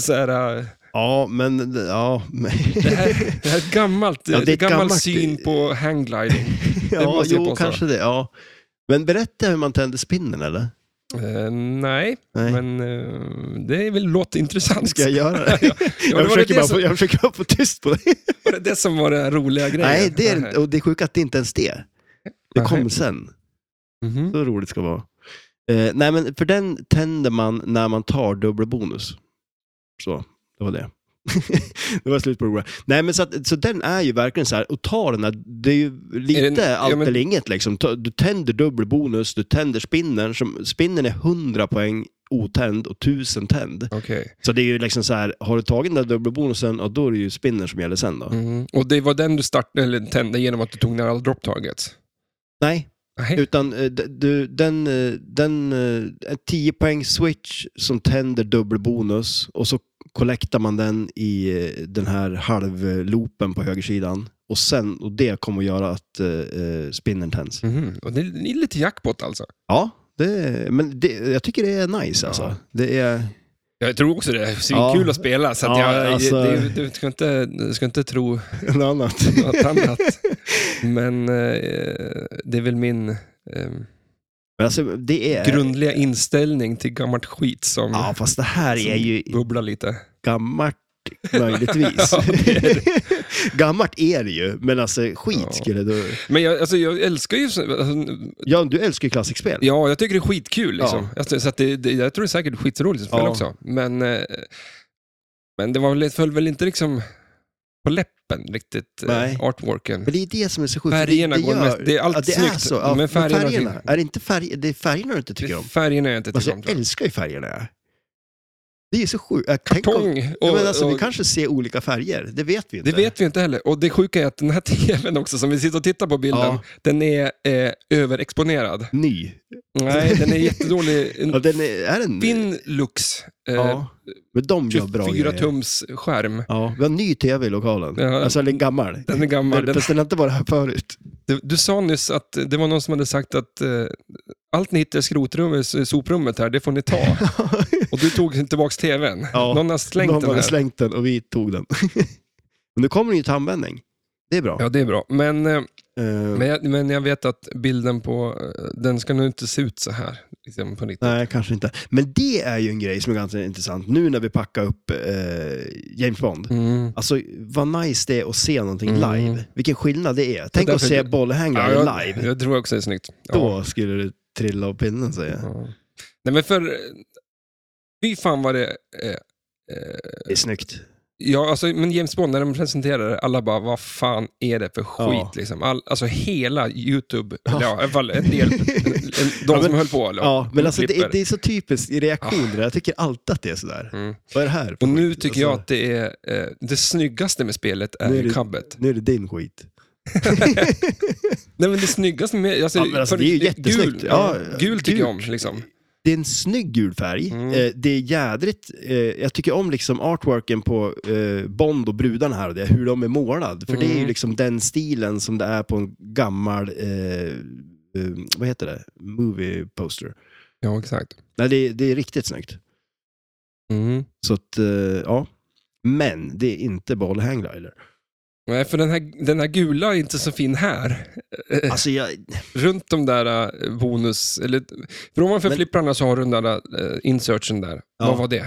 så här... eh,
Ja, men... Ja, men...
[LAUGHS] Det
[LAUGHS]
här, det här är ett gammalt,
Ja, det är
det är
ett
gammal
gammalt-
syn på
[LAUGHS]
hang-gliding.
ja,
måste jag
jo,
påstå.
kanske det. Ja. Men berätta hur man tänder spinnen, eller?
Eh, nej,
Nej.
men eh, det är väl låter intressant. [LAUGHS]
Ska jag göra det?
Ja,
jag,
det var det
försöker bara
som-
få, jag försöker bara få tyst på
[LAUGHS]
dig.
Var det det som var den här roliga grejen?
Nej, det är, inte- och det är sjukt att det inte ens det. Det
Nej.
kom sen.
Mhm.
Så roligt ska det vara. Eh, nej, men för den tänder man när man tar dubbla bonus. Så, det var det. [LAUGHS] det var slut på det roliga. Nej, men så, att, så den är ju verkligen så här, och ta den här, det är ju lite
Är den- ja,
allt
men-
eller inget liksom. Ta- Du tänder dubbel bonus, du tänder spinnen, som, spinnen är 100 poäng otänd och 1000 tänd.
Okej.
Så det är ju liksom så här, har du tagit den där dubbelbonusen, ja, då är det ju spinnen som gäller sen då.
Mhm. Och det var den du startade, eller tände genom att du tog ner all drop targets?
Nej,
Nej.
Utan eh, d- du, den, eh, den eh, en 10 poäng switch som tänder dubbel bonus och så kollektar man den i eh, den här halvloopen på högersidan. Och, sen, och det kommer att göra att eh, eh, spinnen tänds.
Mhm. Och det är lite jackpot alltså.
Ja, det, men det, jag tycker det är nice alltså.
Ja.
Det är,
Jag tror också det. Svinkul
Ja.
att spela, så att
Ja,
jag,
alltså-
det, du, ska inte, du ska inte tro
något
[LAUGHS]
annat. [LAUGHS]
något annat. Men eh, det är väl min eh,
Men alltså, det är...
grundliga inställning till gammalt skit som
Ja, fast det här är ju
bubblar lite.
gammalt möjligtvis.
Ja, det är
[LAUGHS] gammalt är det ju, men alltså skit
Ja.
skulle du...
Men jag, alltså, jag älskar ju... så- Alltså,
Ja, du älskar ju klassikspel.
ja, jag tycker det är skitkul. Liksom.
Ja.
Alltså, så att det, det, jag tror det är säkert skitroligt att spela
Ja.
också. Men, eh, men det var, väl- föll väl inte liksom på läppen riktigt, eh,
Nej.
artworken.
Men det är det som är så sjukt. för
Färgerna
det,
går mest- det är allt
ja, det Är
snyggt,
så, ja,
men
men
färgerna
färgerna,
tycker-
är det inte färg, det är färgerna du inte tycker om?
Färgerna är jag inte
Alltså,
tycker om.
jag
tror jag.
älskar ju färgerna. jag. Det är så sjukt. Äh, tänk om-
Kartong och,
ja, men alltså,
och,
Vi kanske ser olika färger, det vet vi inte.
Det vet vi inte heller. Och det sjuka är att den här [LAUGHS] tvn också, som vi sitter och tittar på bilden,
Ja.
den är eh, överexponerad.
Ny.
Nej, den är
[LAUGHS]
jättedålig.
Ja,
En
den är, är den...
Finlux eh,
ja. Men de gör bra
24
grejer.
tums skärm.
Ja, vi har ny tv i lokalen.
Ja.
Alltså, eller gammal.
Den är gammal.
[LAUGHS]
Den,
Fast den har inte varit här
[LAUGHS]
förut.
du, du sa nyss att det var någon som hade sagt att eh, allt ni hittar i skrotrummet, i soprummet här, det får ni
[LAUGHS]
ta. Och du tog tillbaka tvn.
Ja.
Någon har slängt
Någon
den
hade
här.
slängt den och vi tog den. [LAUGHS] men nu kommer den ju till användning. Det är bra.
Ja, det är bra. Men, eh,
Eh,
men, jag, men jag vet att bilden på, eh, den ska nog inte se ut så här. Liksom på riktigt.
Nej, kanske inte. Men det är ju en grej som är ganska intressant. Nu när vi packar upp eh, James Bond.
Mm.
Alltså vad nice det är att se någonting
Mm.
live. Vilken skillnad det är. Tänk att
därför-
se bollhängare
jag,
live.
jag tror också det är snyggt. Ja.
Då skulle du trilla av pinnen säger jag.
Ja. Nej men för... eh, Fy fan vad det... Eh, eh,
Det är snyggt.
ja, alltså, men James Bond, när de presenterade det, alla bara, vad fan är det för skit?
Ja.
Liksom. All, alltså hela YouTube,
Ja.
eller ja, i alla fall en
[LAUGHS]
del, en, en, de
Ja, men-
som höll på. Eller,
Ja, men alltså det är,
klipper. Ah.
det är så typiskt i reaktioner. Jag tycker alltid att det är sådär.
Mm.
Vad är det här? för
Och nu
skit?
tycker jag
Alltså,
att det är eh, det snyggaste med spelet är,
Nu är det-
cubbet.
Nu är det din skit.
Nej men det snyggaste med... Alltså,
Ja, men alltså,
för-
det är ju
Gul,
jättesnyggt. Ja,
ja, gul tycker jag om. Liksom.
Det är en snygg gul färg.
Mm.
Eh, det är jädrigt... Eh, jag tycker om liksom artworken på eh, Bond och brudarna här och det, hur de är målad. För det är ju
Mm.
liksom den stilen som det är på en gammal... Eh, eh, vad heter det? Movie poster.
Ja, exakt.
Nej, det, det är riktigt snyggt.
Mm.
Så att, eh, ja. Men det är inte
[LAUGHS]
Ball Hanglider.
Nej, för den här, den här gula är inte så fin här.
Alltså, jag...
runt de där eh, bonus... Eller, för ovanför
Men-
flipprarna så har du den där eh, insertion där.
Ja.
Vad var det?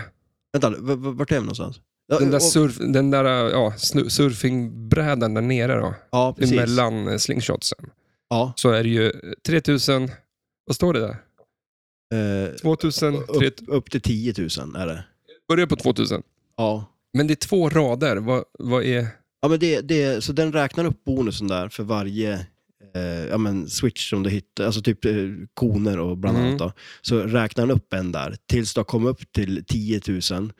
Vänta, v- v- vart är vi någonstans? Ja,
Den där,
och-
surf, den där eh, ja, snu- surfingbrädan där nere då,
ja, precis.
mellan eh, slingshotsen.
Ja,
Så är det ju eh, 3000... Vad står det där?
eh,
2000? tre-
upp, upp till 10 000 är det.
Börja på 2000.
Ja.
Men det är två rader. Vad, vad är...
Ja, men det, det, så den räknar upp bonusen där för varje eh, ja, men switch som du hittar, alltså typ eh, koner och bland
Mm.
annat. Då, så räknar den upp en där tills du har kommit upp till 10 000. Sen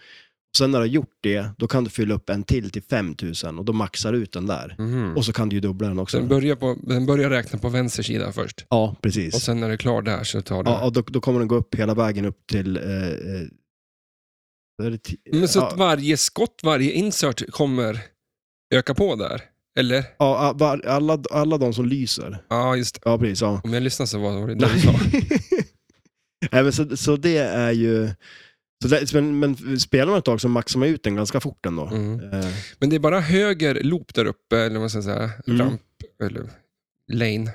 när du har gjort det, då kan du fylla upp en till till 5000 och då maxar du ut den där.
Mhm.
Och så kan du ju dubbla den
Så
också.
den börjar, på, den börjar räkna på vänster sida först.
Ja, precis.
Och sen när det är klar där så tar du...
Ja, och då, då kommer den gå upp hela vägen upp till... Eh, eh, vad är det, ti-
Men så
ja,
att varje skott, varje insert kommer öka på där? Eller?
ja, var, alla, alla de som lyser.
Ja, just det.
Ja, precis. Ja.
Om jag lyssnar så var det det du sa.
[LAUGHS] Nej, men så, så det är ju... Så det, men, men spelar man ett tag så maxar man ut den ganska fort ändå.
Mm.
Eh,
Men det är bara höger loop där uppe, eller vad man ska säga,
Mm.
ramp, eller lane,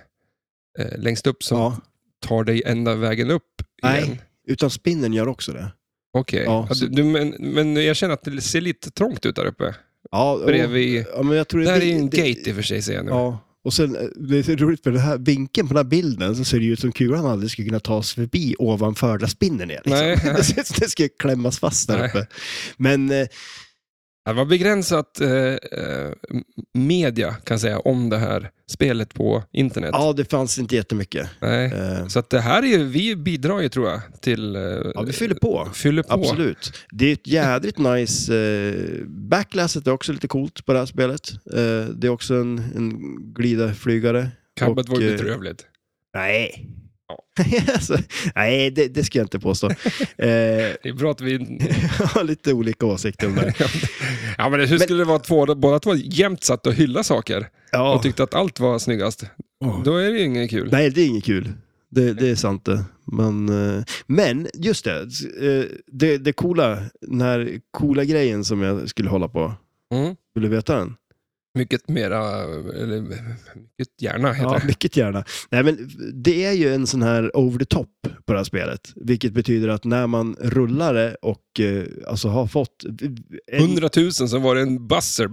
eh, längst upp som
ja.
tar dig ända vägen upp
Nej.
igen.
Utan spinnen gör också det.
Okej,
Ja,
ja,
så-
du, du, men, men jag känner att det ser lite trångt ut där uppe.
Ja, och-
Bredvid,
ja, men jag tror
där är
det-
ju en
det-
gate i och för sig ser jag nu.
Ja, och sen eh, det är så roligt med den här vinkeln på den här bilden så ser det ju ut som kulan aldrig skulle kunna ta sig förbi ovanför där spinnen är. Liksom.
Nej.
[LAUGHS] det ser ut som den skulle klämmas fast där
Nej.
uppe. Men eh,
Det var begränsat eh, eh, media kan jag säga om det här spelet på internet.
ja, det fanns inte jättemycket.
Nej.
Eh,
Så att det här är ju, vi bidrar ju tror jag till... eh,
Ja, vi fyller på.
fyller på.
Absolut. Det är ett jädrigt nice... Eh, backlasset är också lite coolt på det här spelet. Eh, det är också en, en glida-flygare.
Kabbet
Och,
var ju
eh,
bedrövligt.
Nej.
Ja.
[LAUGHS] alltså, nej, det, det ska jag inte påstå.
[LAUGHS]
Eh,
Det är bra att vi...
[LAUGHS] jag har lite olika åsikter om det.
Ja, men hur skulle det vara att två, båda två jämt satt och hylla saker
Ja.
och tyckte att allt var snyggast?
Åh.
Då är det ju inget kul.
Nej, det är inget kul. Det, det är sant det. Men, eh, men just det, eh, det, det coola, den här coola grejen som jag skulle hålla på.
Mm.
Vill du veta den?
Mycket mera... Eller, mycket gärna heter
Ja,
det.
mycket gärna. Nej, men det är ju en sån här over the top på det här spelet. Vilket betyder att när man rullar det och eh, alltså har fått... en-
100 000 så var det en buzzer.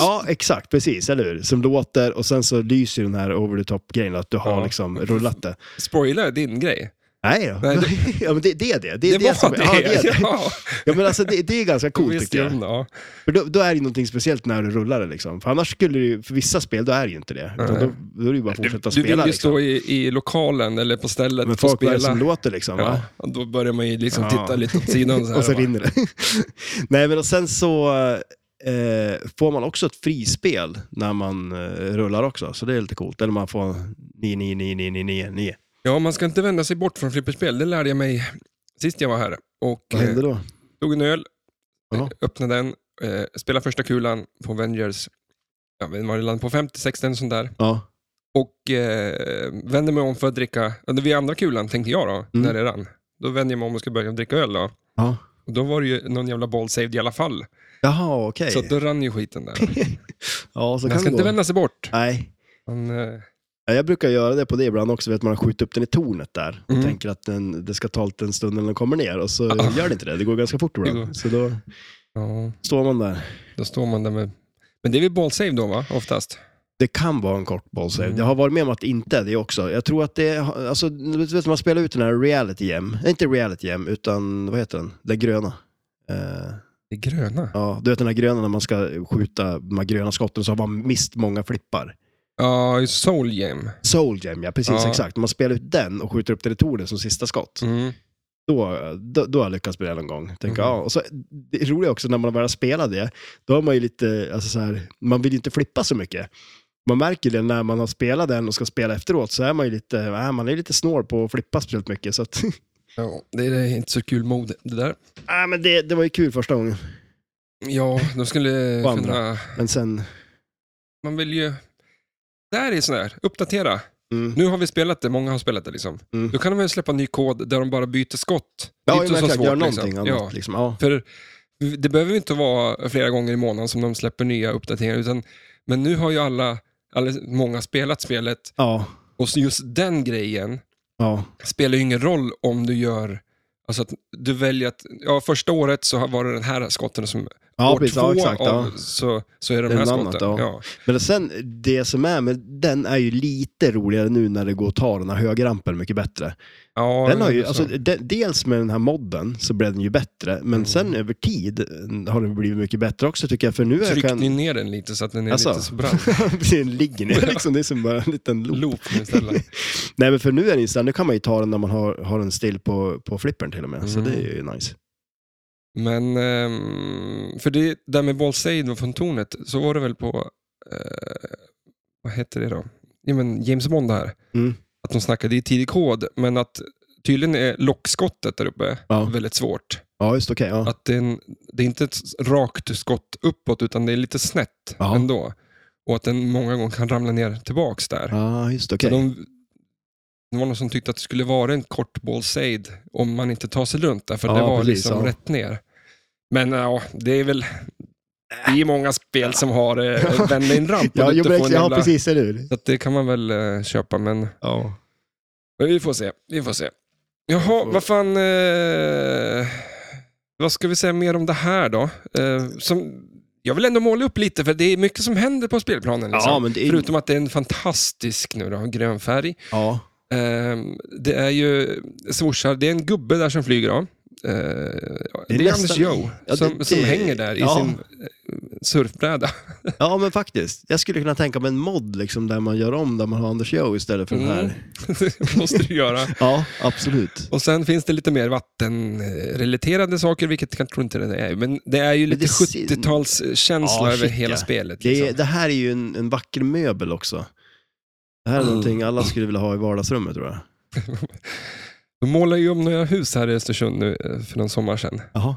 Ja, exakt. Precis, eller hur? Som låter och sen så lyser den här over the top-grejen. Att du har
Ja.
liksom rullat det.
Spoiler din grej.
Nej då.
Nej,
[LAUGHS] ja, men det, det är det. Det,
Det,
är det,
var
som,
det.
Ja, det, är det.
[LAUGHS] Ja,
Ja, men alltså, det, det är ganska coolt
visst,
tycker jag.
ja.
För då, då är det ju någonting speciellt när du rullar det liksom. För annars skulle det ju, för vissa spel, då är det ju inte det. Utan
Nej.
då, då är det ju bara att
Du,
fortsätta
du vill
spela.
ju
liksom.
stå i, i lokalen eller på stället
Men
och
folk vad är det
spela.
som låter liksom. Va?
Ja, och då börjar man ju liksom
Ja.
titta lite åt sidan. Så här,
[LAUGHS] och så
va?
rinner det. Nej, men och sen så eh, får man också ett frispel när man eh, rullar också. Så det är lite coolt. Eller man får 9, 9, 9, 9, 9, 9, 9.
Ja, man ska inte vända sig bort från flipperspel. Det lärde jag mig sist jag var här. Och
Vad hände
eh,
då?
tog en öl,
Ja.
öppnade den, eh, spelade första kulan på Avengers. Jag vet inte var det landade på, 50-60 en sån där.
Ja.
Och eh, vände mig om för att dricka, eller vid andra kulan tänkte jag
Mm.
då, när det rann. Då vände jag mig om och skulle börja dricka öl då.
ja.
Och då var det ju någon jävla ball saved i alla fall.
Jaha, okej.
Så att då rann ju skiten
[LAUGHS]
där.
Ja, så
Man
kan
ska
det
inte
gå.
vända sig bort.
Nej.
Man, eh,
Ja, Jag brukar göra det på det ibland också, vet man har skjutit upp den i tornet där och
Mm.
tänker att den, det ska ta lite en stund innan den kommer ner och så
Ah.
gör det inte det. Det går ganska fort
Det går.
ibland. Så då
ja,
står man där.
då står man där med... Men det är väl ball save då va, oftast?
Det kan vara en kort bollsave.
Mm.
Jag har varit med om att det inte är det också. Jag tror att det är, alltså, du vet, man spelar ut den här reality jam. Nej, Inte reality jam, utan vad heter den? Den gröna. Eh,
Det är gröna.
ja, du vet den här gröna när man ska skjuta de här gröna skotten så har man mist många flippar.
Ja, i soul game.
Soul jam, ja precis
Ja.
exakt. Om man spelar ut den och skjuter upp den i tornet som sista skott.
Mm.
då, då, då har jag lyckats med det någon gång. Tänker,
Mhm.
ja. och så, det roliga är också när man väl spelar det, då har man ju lite, alltså så här, man vill ju inte flippa så mycket. Man märker det när man har spelat den och ska spela efteråt, så är man ju lite, äh, man är lite snål på att flippa speciellt mycket. Så att, [LAUGHS]
Ja, det är inte så kul mode det där.
äh, men det, det var ju kul första gången,
Ja, de skulle
[LAUGHS] Och andra.
kunna...
men sen...
Man vill ju... Där är sån här, uppdatera.
Mm.
Nu har vi spelat det, många har spelat det liksom.
Mm.
Då kan de väl släppa ny kod där de bara byter skott.
Ja,
Lite
men
så
exakt,
svårt,
gör någonting
liksom.
annat.
Ja,
Liksom. Ja.
för det behöver ju inte vara flera gånger i månaden som de släpper nya uppdateringar. Utan, men nu har ju alla, alla, många spelat spelet
Ja.
och så just den grejen
Ja.
spelar ju ingen roll om du gör... Alltså att du väljer att... Ja, första året så var det den här skotten som
Ja,
år
precis,
två
ja, exakt.
av,
Ja.
så, så är det
Det
de
är
här
något
skotten.
annat,
ja.
ja. Men sen, det som är med den är ju lite roligare nu när det går att ta den här högerrampen mycket bättre.
Ja,
Den har ju,
så.
alltså, de, dels med den här modden så blev den ju bättre, men sen över tid eh, har den blivit mycket bättre också tycker jag. För nu är
tryckt
kan...
ni ner den lite så att den är
Alltså.
lite så brant.
den ligger ner liksom, [LAUGHS] det är som bara en liten loop.
Loop nu istället.
Nej men för nu är den ju så här, nu kan man ju ta den när man har, har den still på, på flippern till och med. Så
Mm.
det är ju nice.
Men, ehm, för det där med Wallsade och fontonet, så var det väl på, eh, vad hette det då? Ja, men James Bond här.
Mm.
Att de snackade i tidig kod, men att tydligen är lockskottet där uppe
Ja.
väldigt svårt.
Ja, just okej. ja.
Att det, är en, det är inte ett rakt skott uppåt, utan det är lite snett
Ja.
ändå. Och att den många gånger kan ramla ner tillbaks där.
Ja, just
Så
okej.
De, det var någon som tyckte att det skulle vara en kort ballsade om man inte tar sig runt där, för
Ja,
det var
precis,
liksom
ja.
rätt ner. Men ja, det är väl... Det är många spel som har eh, vända in ramp och
Ja,
du
jo,
inte
men
får
ex-
en
ja,
jävla...
precis. Eller hur?
Så att det kan man väl eh, köpa, men,
Ja.
men vi får se. Vi får se. Jaha, vad fan... Eh, vad ska vi säga mer om det här då? Eh, som, jag vill ändå måla upp lite, för det är mycket som händer på spelplanen. Liksom.
Ja, men det är
Förutom att det är en fantastisk nu då, grön färg.
Ja.
Ehm, det är ju swooshar, det är en gubbe där som flyger av. Eh, det är
nästan-
Anders Joe
Ja, det-
som, som
det-
hänger där i
ja.
sin eh, surfbräda. [LAUGHS]
ja, men faktiskt. Jag skulle kunna tänka mig en mod liksom, där man gör om, där man har Anders Joe istället för den
Mm.
här.
det måste du göra.
Ja, absolut.
Och sen finns det lite mer vattenrelaterade saker, vilket jag tror inte det är. Men det är ju
Men
lite
det ser-
70-talskänsla
Ja,
över
shit,
hela
ja.
spelet.
Det, är,
Liksom.
det här är ju en, en vacker möbel också. Det här är
Mm.
någonting alla skulle vilja ha i vardagsrummet tror jag.
De målar ju om några hus här i Östersund nu eh, för någon sommar sedan.
Jaha.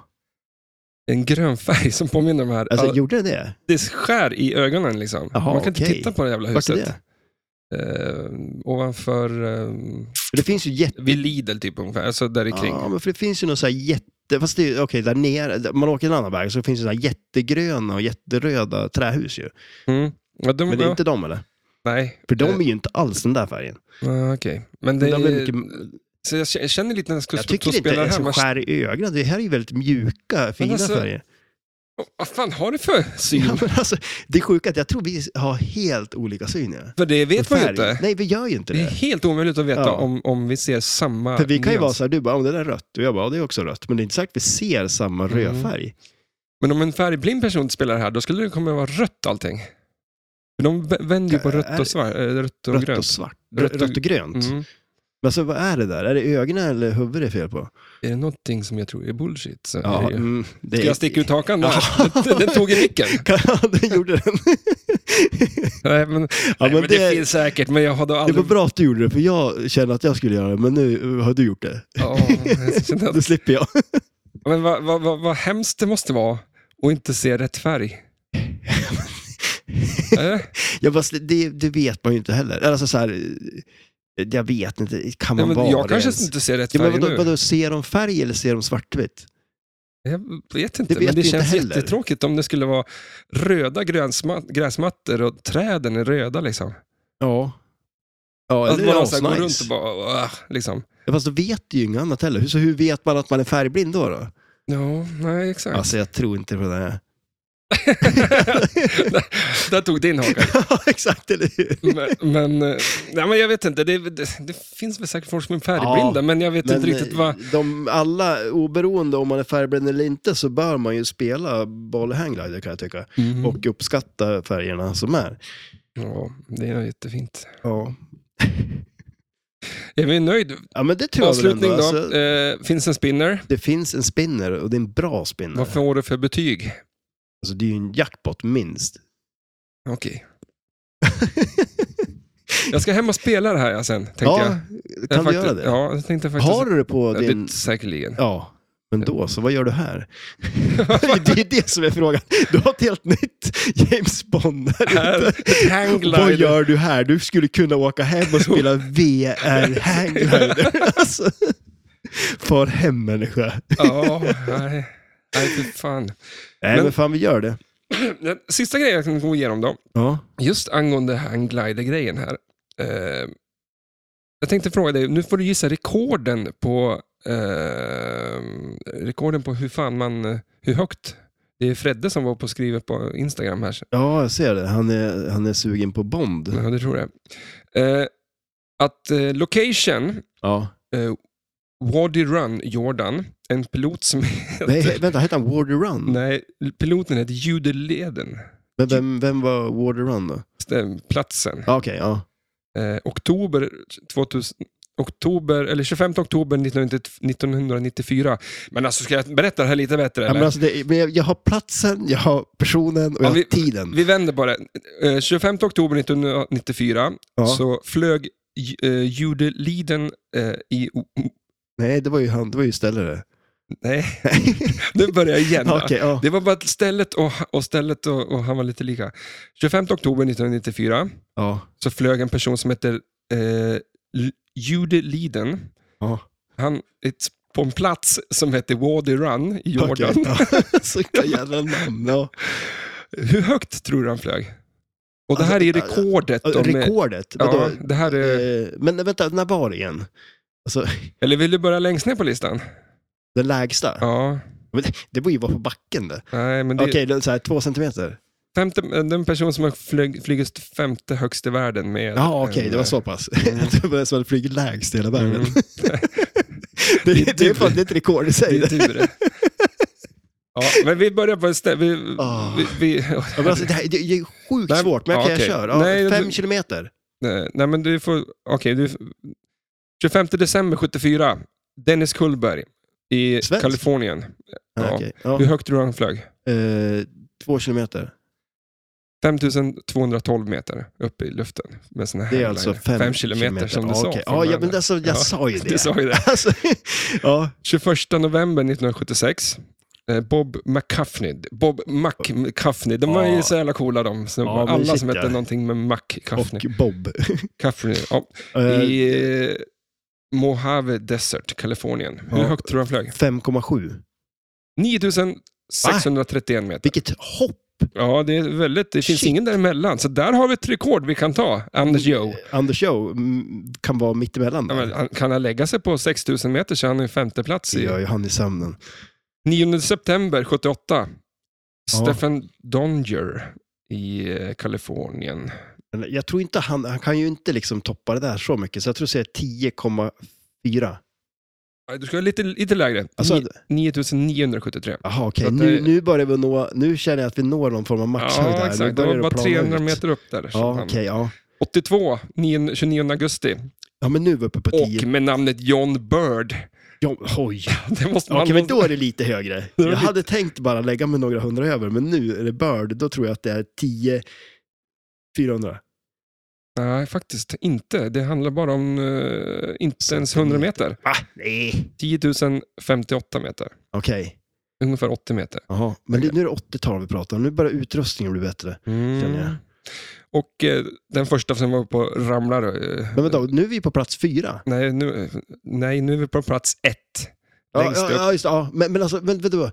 En grön färg som påminner om här.
Alltså,
Ja,
gjorde den det?
det skär i ögonen liksom.
Jaha,
Man kan inte
okej.
titta på det jävla
Vart är
huset.
det?
eh, ovanför, eh,
För det finns ju jätte...
vid Lidl typ ungefär, alltså där i kring.
Ja, men för det finns ju någon så här jätte... Fast det är okej, där nere, där- man åker en annan väg, så finns det så här jättegröna och jätteröda trähus ju.
Mm. Ja, de,
Men det är
ja,
inte de eller?
Nej,
För de
Eh.
är ju inte alls den där färgen.
ah, okej. Men det,
de är mycket...
så jag k- känner lite när jag ska
Jag
stå
tycker
och
inte
spela det
det
här.
som
Man,
skär i ögonen. Det här är ju väldigt mjuka, fina
alltså,
färger.
vad fan har du för [LAUGHS] syn?
Ja, men alltså, det är sjukt att jag tror vi har helt olika syn. Ja.
för det vet
På
man ju
färg.
inte.
Nej, vi gör ju inte
Det är
det.
helt omöjligt att veta
Ja.
om, om vi ser samma
För vi kan ju
nyans.
vara så här, du bara, om det där är rött, och jag bara, ja, det är också rött. Men det är inte säkert vi ser samma
Mm.
rödfärg.
Men om en färgblind person spelar det här, då skulle det komma att vara rött allting. För de vä- vänder ju på
Äh,
rött
är-
och, svart, eh, rött och
Rött och
grönt.
svart.
Rö-
Rött, rött och grönt.
Mm.
Men alltså vad är det där? Är det ögonen eller huvudet det är fel på?
Är det någonting som jag tror är bullshit så är
Ja,
det ju.
mm, det
Ska jag sticka
[LAUGHS]
ut hakan där? [LAUGHS]
Ja.
Den tog i micken.
Ja, det gjorde
[LAUGHS]
den.
Nej, men,
[LAUGHS] Ja,
nej,
men
men det,
det-
finns säkert, men jag hade
Det
aldrig...
var bra att du gjorde det, för jag kände att jag skulle göra det, men nu har du gjort det.
Ja, jag
[LAUGHS]
kände att-
Nu slipper jag.
men vad, vad, vad, vad hemskt det måste vara att inte se rätt
[LAUGHS]
färg. Äh?
jag bara, sli- det, det vet man ju inte heller. Alltså så här, eh, jag vet inte, kan
Ja,
man
men
vara
jag
det
kanske
ens?
inte ser rätt
Ja,
färg
men vadå,
nu.
vadå, ser de färg eller ser de svartvitt?
Jag vet inte,
Det vet
men det
vi inte
känns
heller.
jättetråkigt om det skulle vara röda gränsma- gräsmattor och träden är röda. Liksom.
Ja. Ja,
Att
eller
man
är
så här går runt
asnice.
och bara... "Åh", Liksom.
Ja, Fast då vet du ju inget annat heller. Hur- Så hur vet man att man är färgblind då? då?
Ja, nej, exakt.
Alltså jag tror inte på det.
[LAUGHS]
Här.
där, där tog din
[LAUGHS]
haka.
Ja, exakt, eller hur?
Men, men, eh, nej, men jag vet inte, det, det, det finns väl säkert folk som är färgblinda,
Ja, eh,
men jag vet inte riktigt vad...
de, alla, oberoende om man är färgblind eller inte, så bör man ju spela boll hangglider kan jag tycka.
Mm.
Och uppskatta färgerna som är.
Ja, det är jättefint.
Ja,
Är vi nöjd?
ja men det tror jag väl
Avslutning
ändå.
då.
Alltså,
Eh, finns en spinner.
det finns en spinner och det är en bra spinner.
Vad får du för betyg?
Alltså, det är ju en jackpot minst.
Okej. jag ska hem och spela det här sen, [LAUGHS] tänker
ja,
jag. Jag
kan du
faktiskt-
göra det?
Ja, jag tänkte faktiskt...
Har du det på
Ja,
din...
det, Säkerligen.
Ja, men då så, vad gör du här? [LAUGHS] det är det som är frågan. Du har ett helt nytt James Bond här ute.
Här,
Vad
Hanglider.
gör du här? Du skulle kunna åka hem och spela
[LAUGHS]
VR Hanglider. Alltså. Far hem människa.
Ja, nej. Nej, fy fan.
Nej
Men-
men, fan vi gör det.
Den sista grejen jag kan gå igenom då.
Ja.
Just angående hanglider-grejen här. Eh, jag tänkte fråga dig, nu får du gissa rekorden på eh, rekorden på hur fan man, eh, hur högt. Det är Fredde som var på och skrev på Instagram här.
ja, jag ser det. Han är, han är sugen på Bond.
Ja, det tror jag. Eh, att eh, location,
Ja.
eh, Wadi Run, Jordan, en pilot som [LAUGHS]
Nej,
heter...
vänta, hette han Warder Run?
Nej, piloten heter Jude Leden,
Men vem, vem var Warder Run då?
platsen.
Ja, Okej, ja.
Eh, oktober 2000, oktober, eller 25 oktober 1994. Men alltså, ska jag berätta det här lite bättre?
Ja, men
eller?
alltså det, men jag, jag har platsen, jag har personen och jag
Ja,
har
vi-
tiden.
Vi vänder på det. Eh, 25 oktober 1994
Ja.
så flög J- eh, Jude Liden eh, i... o- [LAUGHS] o-
Nej, det var ju han, det var ju ställare.
Nej, nu börjar jag igen. va?
[LAUGHS] Okej, [LAUGHS] ja.
Det var bara att stället och, och stället och, och han var lite lika. 25 oktober 1994
ja.
så flög en person som heter eh, L- Jude Liden.
ja.
Han ett, på en plats som heter Wadi Run i Jordan. [LAUGHS]
Okej, ja. [LAUGHS] Sådana jävla namn. Ja.
Hur högt tror du han flög? Och det här är
Alltså,
rekordet.
Ja,
de är-
Rekordet,
Ja,
vadå?
det här är,
Eh, Men vänta, när var det igen? Alltså,
eller vill du börja längst ner på listan?
den lägsta?
Ja,
Men det, det borde ju vara på backen det.
nej men det
Okej, den så här, två centimeter.
femte, eh, den person som har flög, flugit femte högst i världen med...
Ja, okej,
en-
det
[LAUGHS]
var så pass. [LAUGHS]
Mm.
det var den som hade flugit lägst i hela världen.
Mm.
Det,
Det är
[LAUGHS] det, är
typ-
fan, det är ett rekord i
Det
sig.
är
Det.
tur det. Ja, men vi börjar på ett ställe. Vi,
Ah.
vi, vi, [LAUGHS]
Ja, men alltså, det, här, det det är sjukt
Nej,
svårt, men
ja,
okej,
okej.
jag kör. Ja,
Nej,
fem
du-
kilometer.
nej, nej, men du får... Okej, du... 25 december 74. Dennis Kullberg i
Svensk?
Kalifornien.
Ja,
Ja.
okej. ja.
Hur högt tror du han flög?
Eh, två kilometer.
5212 meter upp i luften. Med sån här
Det är
headliner.
alltså fem,
Fem kilometer, som du
ja,
sa.
okej.
från
Ja, ja,
början.
men alltså, jag
Ja,
sa ju
[LAUGHS]
det.
Du sa ju det.
Alltså, ja,
21 november 1976. eh, Bob McCaffney. Bob McCaffney. De var
Ja.
ju så jävla coola de. Så
Ja, men
alla
shit,
som hette
ja.
någonting med McCaffney.
och Bob.
Caffrey, ja.
Eh,
I eh, Mojave Desert, Kalifornien. Hur
Ja.
högt tror du han flög?
5,7.
9631 meter.
Vilket hopp!
Ja, det är väldigt. Det finns
Shit.
ingen däremellan. Så där har vi ett rekord vi kan ta, Anders Joe.
Anders Joe mm, kan vara mittemellan.
Ja,
där.
men, alltså, han- kan han lägga sig på 6000 meter så är han i femte plats
Det
i
gör ju han i sömnen.
9 september 78.
Ja.
Stephen Donger i eh, Kalifornien.
Men Jag tror inte han, han kan ju inte liksom toppa det där så mycket, så jag tror att säga 10,4.
Nej, Du ska lite, lite lägre.
Alltså-
Ni- 9973.
Jaha, okej.
Så att
Nu,
det-
nu börjar vi nå, nu känner jag att vi når någon form av maxhöjd
Ja,
här. Nu
exakt. Det
börjar
var bara
plana
300
ut.
meter upp där. så
Ja,
han-
okej, ja.
82, 9, 29 augusti.
Ja, men nu är vi uppe på 10.
Och med namnet John Bird. [LAUGHS]
Ja, oj.
Det måste
Okej,
man...
men då är [LAUGHS] det lite högre.
var
Jag
lite-
hade tänkt bara lägga mig några hundra över, men nu är det Bird, då tror jag att det är 10, 400.
Nej, faktiskt inte. Det handlar bara om eh, inte ens 100 meter.
Ah, nej.
10 058 meter.
Okej.
Ungefär 80 meter.
Jaha, men det, nu är det 80-tal vi pratar om. Nu börjar utrustningen bli bättre. Känner jag.
Och eh, den första som var på ramlar... Eh,
Men vänta, nu är vi på plats fyra.
nej, nu, nej, nu är vi på plats ett.
Ja,
Längst
ja,
upp.
ja, just det, ja. Men, men alltså, men, vet [LAUGHS] du vad?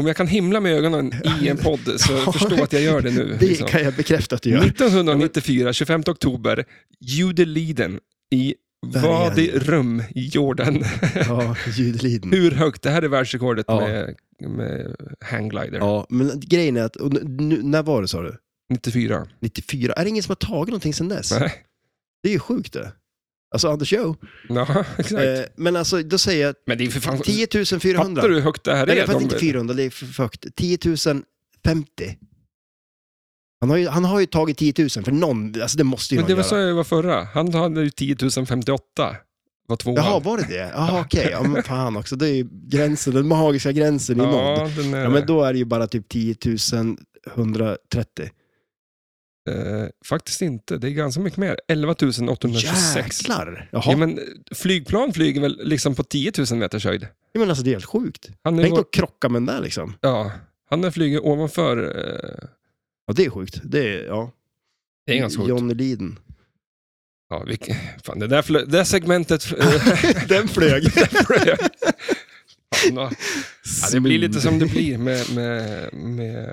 Om jag kan himla med ögonen i en podd så
[LAUGHS] Ja.
förstå att jag gör det nu.
Det
liksom.
kan jag bekräfta att du gör.
1994, 25 oktober, Jude Liden i
Där igen.
Wadi Rum i Jordan. [LAUGHS]
Ja, [LAUGHS] ljudliden.
Hur högt? Det här är världsrekordet
Ja.
med, med hangglider.
Ja, men grejen är att, och nu- nu, när var det sa du?
94.
94? Är det ingen som har tagit någonting sedan dess?
Nej.
Det är ju sjukt det. Alltså Anders Joe.
[LAUGHS] Ja, exakt.
Eh, men alltså, då säger jag
Men det är för fan...
10 400.
Fattar du hur högt det här
Nej, det
är?
är faktiskt
De-
inte 400, det är för för högt. 10 050. Han har, ju, han har ju tagit 10 000 för någon, alltså det måste ju
Men
någon
det var
göra.
så jag var förra. Han hade ju 10 058. Var tvåan.
Jaha, var det det? Jaha, okej. Ja, men fan också. Det är ju gränsen, den magiska gränsen i nåd.
ja, den är...
Ja, men då är det ju bara typ 10 130.
eh, faktiskt inte. Det är ganska mycket mer. 11 826.
Jäklar! Jaha.
Ja,
men...
men eh, flygplan flyger väl liksom på 10 000 meters höjd?
men alltså det är helt sjukt.
Han är
Tänk
vår...
att krocka med den där liksom.
ja, han har flugit ovanför... Eh...
Ja, det är sjukt. Det är, ja.
Det är ganska sjukt.
Johnny Liden. [LAUGHS]
Ja, vilken... Fan, det där, flö... det där segmentet... eh, [LAUGHS]
den flög.
Fan, vad- Ja, det blir lite som det blir med, med, med,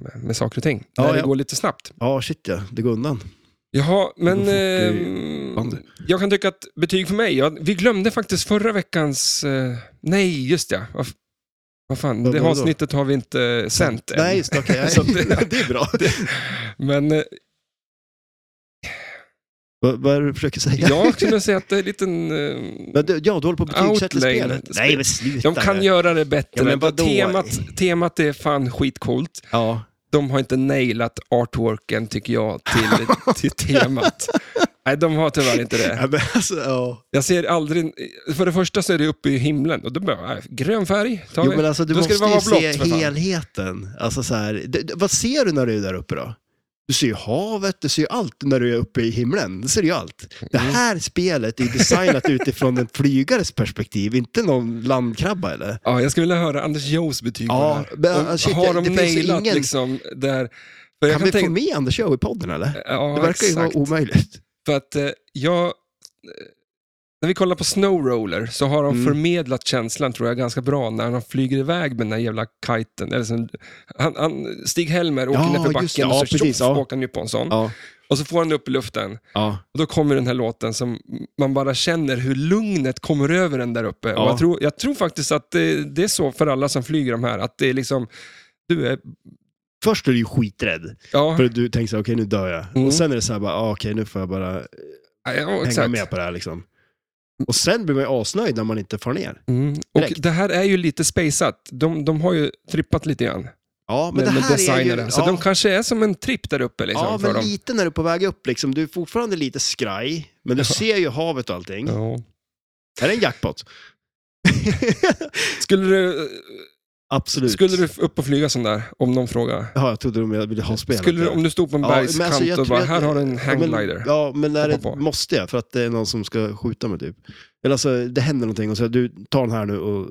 med, med saker och ting.
Ja,
När det
ja.
går lite snabbt.
Ja, shit ja. Det går undan.
Jaha, men
Då får vi-
ehm,
band.
jag kan tycka att betyg för mig, ja, vi glömde faktiskt förra veckans, eh, nej just ja, vad, f- vad fan,
Vad
det
var det då?
avsnittet har vi inte sänt än.
Nej, just
[LAUGHS]
det. Okej.
Så det-
[LAUGHS] det är bra.
Men eh,
Vad vad är det du försöker säga?
jag skulle säga att det är en liten, eh,
Men du, ja, du håller på att betygsätta
Outlane.
spelet. Nej, men sluta
de kan
nu.
göra det bättre.
Ja, men vadå?
temat, temat är fan skitcoolt.
Ja. [LAUGHS]
De har inte nailat artworken tycker jag till, till temat. Nej, de har tyvärr inte det.
Ja, men alltså, ja.
Jag ser aldrig... För det första så är det uppe i himlen. Och då bara, nej, grön färg tar
Jo,
vi.
men alltså, du
Då ska
måste
det vara
ju
blått,
se
för fan.
helheten. Alltså, så här, d- d- vad ser du när du är där uppe då? Du ser ju havet, du ser ju allt när du är uppe i himlen. Du ser ju allt. Det
Mm.
här spelet är
[LAUGHS]
designat utifrån en flygares perspektiv, inte någon landkrabba eller?
Ja, jag skulle vilja höra Anders Joes betyg på
Ja,
det
men, äh,
här. Om-
shit,
har de
det finns ju
nailat
ingen-
liksom där... För jag
Kan
kan
vi
tänka,
få med Anders Joe i podden eller?
Ja,
Det verkar ju
exakt.
vara omöjligt.
För att eh, jag... eh, När vi kollar på Snow Roller så har de
Mm.
förmedlat känslan, tror jag, ganska bra när han flyger iväg med den där jävla kiten. Eller så, han, han, Stig-Helmer åker
Ja,
ner för
just det.
backen
Ja,
och så
precis,
tjoff,
ja.
åker han ju på en sån.
Ja,
Och så får han upp i luften.
ja.
Och då kommer den här låten som man bara känner hur lugnet kommer över en där uppe. Och
Ja.
jag, tror, jag tror faktiskt att det, det är så för alla som flyger de här, att det är liksom... Du är...
Först är du ju skiträdd,
Ja,
för du tänker så här, okej nu dör jag.
Mm.
Och sen är det så här, bara, ah, okej nu får jag bara
ja
hänga
exakt.
med på det här liksom. Och sen blir man ju asnöjd när man inte far ner.
Mm. Och
Direkt.
det här är ju lite spaceat. De, de har ju trippat lite grann
Ja, men
med,
det
med
här
designare.
är ju...
Så
ja.
de kanske är som en tripp där uppe liksom,
ja,
för
men
dem.
lite när du är på väg upp. Liksom. Du är fortfarande lite skraj, men du ser ju havet och allting.
Ja.
Är det en jackpot?
Skulle, du,
Absolut.
skulle du upp och flyga sån där, om någon frågar?
Ja, jag trodde de ville ha spelet.
Skulle du,
Ja.
om du stod på en
Ja, men alltså,
bergskant
jag
och
tror
bara,
att-
här har du en
Ja, men-
hanglider.
Ja, men när
Hoppa
det,
på.
måste jag för att det är någon som ska skjuta mig typ. Eller alltså, det händer någonting och så du tar den här nu och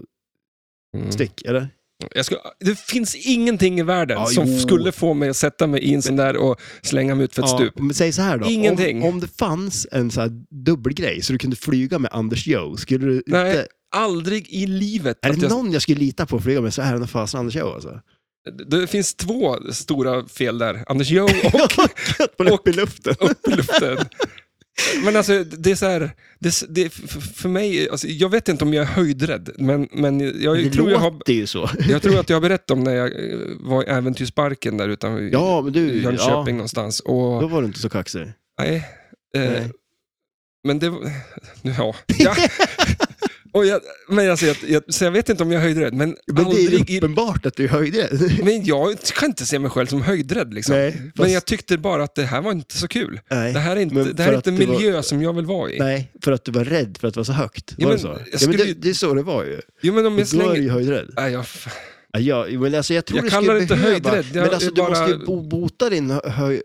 Mm.
stick, eller?
Jag ska, det finns ingenting i världen
Ja,
som
jo.
skulle få mig att sätta mig i en sån där och slänga mig ut för ett stup.
men säg så här då.
Ingenting.
Om, om det fanns en så här dubbelgrej så du kunde flyga med Anders Joe, skulle du
Nej,
inte...
Aldrig i livet.
Är
att
det
jag,
någon jag skulle lita på att flyga med så är det nog fasen Anders Joe alltså. [LAUGHS]
det finns två stora fel där. Anders Joe och
att man är uppe i luften. [LAUGHS]
upp i luften. Men alltså, det är så här, det, är- det, är f- för mig, alltså, jag vet inte om jag är höjdrädd, men, men jag,
Det
tror jag, har,
låter ju så.
jag tror att jag har berättat om när jag eh, var i Äventyrsparken där utan
Ja, men du,
Jönköping
ja,
någonstans. Och,
då var du inte så kaxig.
Nej. Eh,
Nej.
Men det var... [LAUGHS] Ja.
[LAUGHS]
ja. och jag, men alltså, jag, jag, så jag vet inte om jag är höjdrädd, men,
Men det är
aldrig...
ju
i-
uppenbart att du höjde
[LAUGHS]
det.
Men jag kan inte se mig själv som höjdrädd. Liksom.
Nej,
Men
fast-
jag tyckte bara att det här var inte så kul.
Nej.
Det här är inte,
men
det här
för
är inte en
att det var-
miljö som jag vill vara i.
Nej, för att du var rädd för att det var så högt.
Ja,
var
men
det så?
jag
Ja, men
skulle
det,
ju-
det är så det var ju.
Jo, men om jag
Då är du
slänger...
ju höjdrädd.
Nej, jag... f-
Ja, jag, men alltså, jag tror
Jag
du
kallar
skulle
det inte
behöva,
höjdrädd, jag-
Men alltså,
jag bara-
du måste ju bo- bota din höj,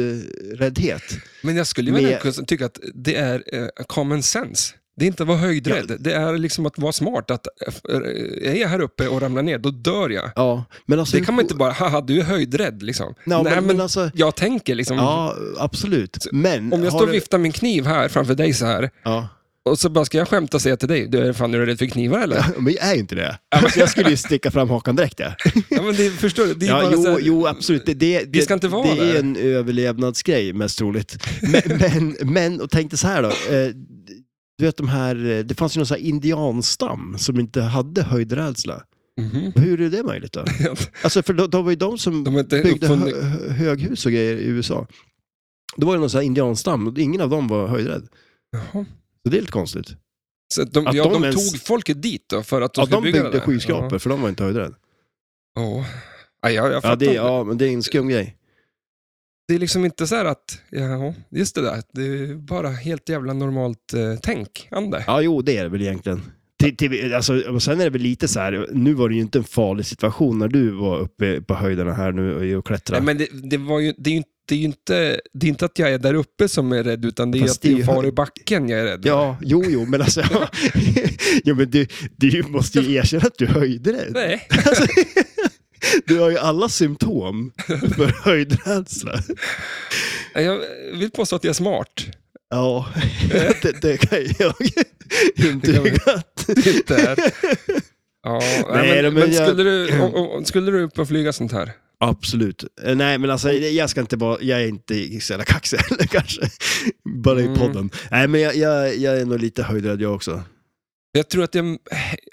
höjdräddhet.
Men jag skulle väl
Men-
ändå kunna tycka att det är eh, common sense. Det är inte att vara höjdrädd, det är liksom att vara smart. Att, eh, är jag här uppe och ramlar ner, då dör jag.
Ja, men alltså,
Det kan man inte bara, haha, du är höjdrädd liksom.
Nej,
Nej,
men,
men-
men alltså,
Jag tänker liksom,
ja, absolut. Men,
om jag
har
står och
du-
viftar min kniv här framför dig så här
Ja.
och så bara ska jag skämta och säga till dig, du är fan är du rädd för knivar eller?
Men jag är ju inte det. Alltså, jag skulle ju sticka fram hakan direkt. Ja.
ja, men det, förstår du? [LAUGHS] Det är
Ja,
bara
jo,
så här,
jo, absolut. Det, det,
Vi ska inte
det,
vara
det är
där.
en överlevnadsgrej mest troligt. Men, [LAUGHS] men, men och tänk dig så här då. Eh, du vet de här, eh, det fanns ju någon så här indianstam som inte hade höjdrädsla.
Mhm. [LAUGHS]
Hur är det möjligt då? Alltså för de, de var ju de som
De är inte
byggde
uppfunnit-
hö, hö- höghus och grejer i USA. Det var ju någon sån här indianstam och ingen av dem var höjdrädd.
Jaha.
Så det är lite konstigt.
Så att de,
Att
ja,
de
de
ens-
tog folket dit då för att de
Ja,
skulle
de
bygga det
byggde
där.
skyskrapor för de var inte höjdrädda.
Ja. Ja. Ja, jag, jag
Ja,
fattar
det,
det,
ja, men det är en skum grej.
det är liksom inte så här att, ja, just det där, det är bara helt jävla normalt eh, tänk, Ande.
Ja, jo, det är det väl egentligen. Till, till, alltså, och sen är det väl lite så här, nu var det ju inte en farlig situation när du var uppe på höjderna här nu och- och klättrade.
Nej, men det, det, var ju, det är ju inte det är ju inte, det är inte att jag är där uppe som är rädd, utan det är
Fast
att det
det
är
är ju-
far i backen jag är rädd
Ja, jo, jo, men alltså... [LAUGHS] Ja. jo, men du, du måste ju erkänna att du höjde dig.
Nej.
Alltså, [LAUGHS] Du har ju alla symptom för [LAUGHS] höjdrädsla.
Jag vill påstå att jag är smart.
Ja, [LAUGHS] det, det kan jag [LAUGHS] intyga.
Titta här.
[LAUGHS]
Ja, nej, men,
men
men
jag-
skulle, du, om-
[CLEARS THROAT]
om- skulle du upp och flyga sånt här?
Absolut. Eh, Nej, men alltså jag ska inte vara, jag är inte så jävla kaxig [LAUGHS] heller kanske. Bara
Mm.
i podden. Nej, men jag, jag, jag är nog lite höjdrädd jag också.
Jag tror att jag...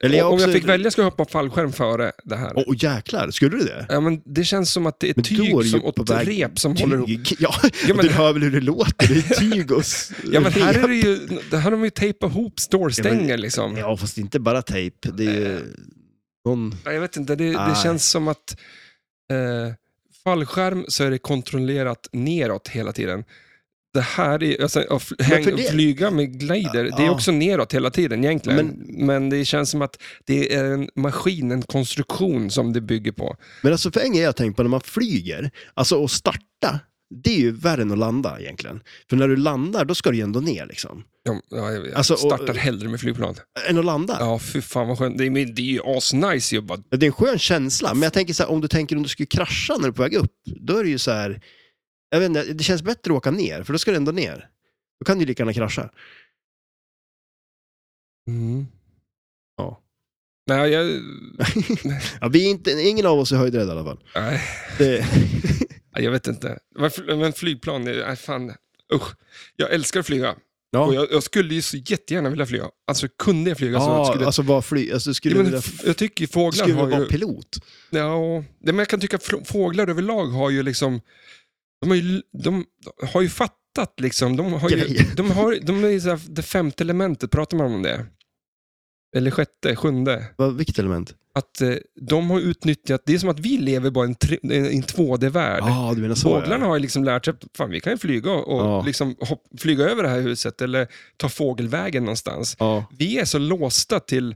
Eller jag
om
också-
jag fick välja skulle jag hoppa fallskärm före det här.
Åh oh, jäklar, skulle du det?
Ja, men det känns som att det är
Men
tyg
då är du ju
som,
på
och
väg-
rep som håller ihop.
Tyg? Ja,
Ja, men-
du hör väl hur det låter? Det är tyg och s-
Ja,
[LAUGHS]
men här, är
rep.
det ju, det här har de ju tejpat ihop stålstänger
Ja, men-
liksom.
Ja, fast inte bara tejp. Det är ju någon...
Nej, Jag vet inte, det, det
Nej.
känns som att eh, fallskärm så är det kontrollerat neråt hela tiden. det här är, alltså, att fl-
Men för
häng,
det-
flyga med glider, det är
Ja.
också neråt hela tiden egentligen. Men, det känns som att det är en maskin, en konstruktion som det bygger på.
Men alltså för en grej jag har tänkt på när man flyger, alltså att starta, det är ju värre än att landa egentligen. För när du landar, då ska du ju ändå ner liksom.
Ja, ja, jag
Alltså, och-
startar hellre med flygplan.
Än att landa.
Ja, fy fan vad skönt. Det är, men det är ju asnice ju bara.
Det är en skön känsla, men jag tänker så här, om du tänker om du skulle krascha när du är på väg upp, då är det ju så här, jag vet inte, det känns bättre att åka ner, för då ska du ändå ner. Då kan du ju lika gärna krascha. Mm. Ja.
Nej, jag...
Ja, vi är inte, ingen av oss är höjdrädd i alla fall.
Nej, [LAUGHS]
Det,
jag vet inte. Varför- Men flygplan, är- nej, fan. Usch. Jag älskar att flyga.
ja.
Och jag, jag skulle ju så jättegärna vilja flyga. Alltså kunde jag flyga så
ja,
skulle jag...
alltså vad fly, alltså, skulle
Ja,
du
men,
vilja,
f- jag tycker ju
du
fåglar
skulle
har
vilja
ju...
vara pilot?
Ja, nej, men jag kan tycka fl- fåglar överlag har ju liksom... De har ju, de har ju fattat liksom. De, har ju,
Grejer.
de, har, de är ju så här, det femte elementet, pratar man om det? Eller sjätte, sjunde.
Vad, vilket element?
Att eh, de har utnyttjat, det är som att vi lever bara i en, tre- i en 2D-värld.
Ja, Ah, du menar så. ja.
Fåglarna har ju liksom lärt sig att fan, vi kan ju flyga och
Ja.
liksom hopp, flyga över det här huset eller ta fågelvägen någonstans.
Ja.
Vi är så låsta till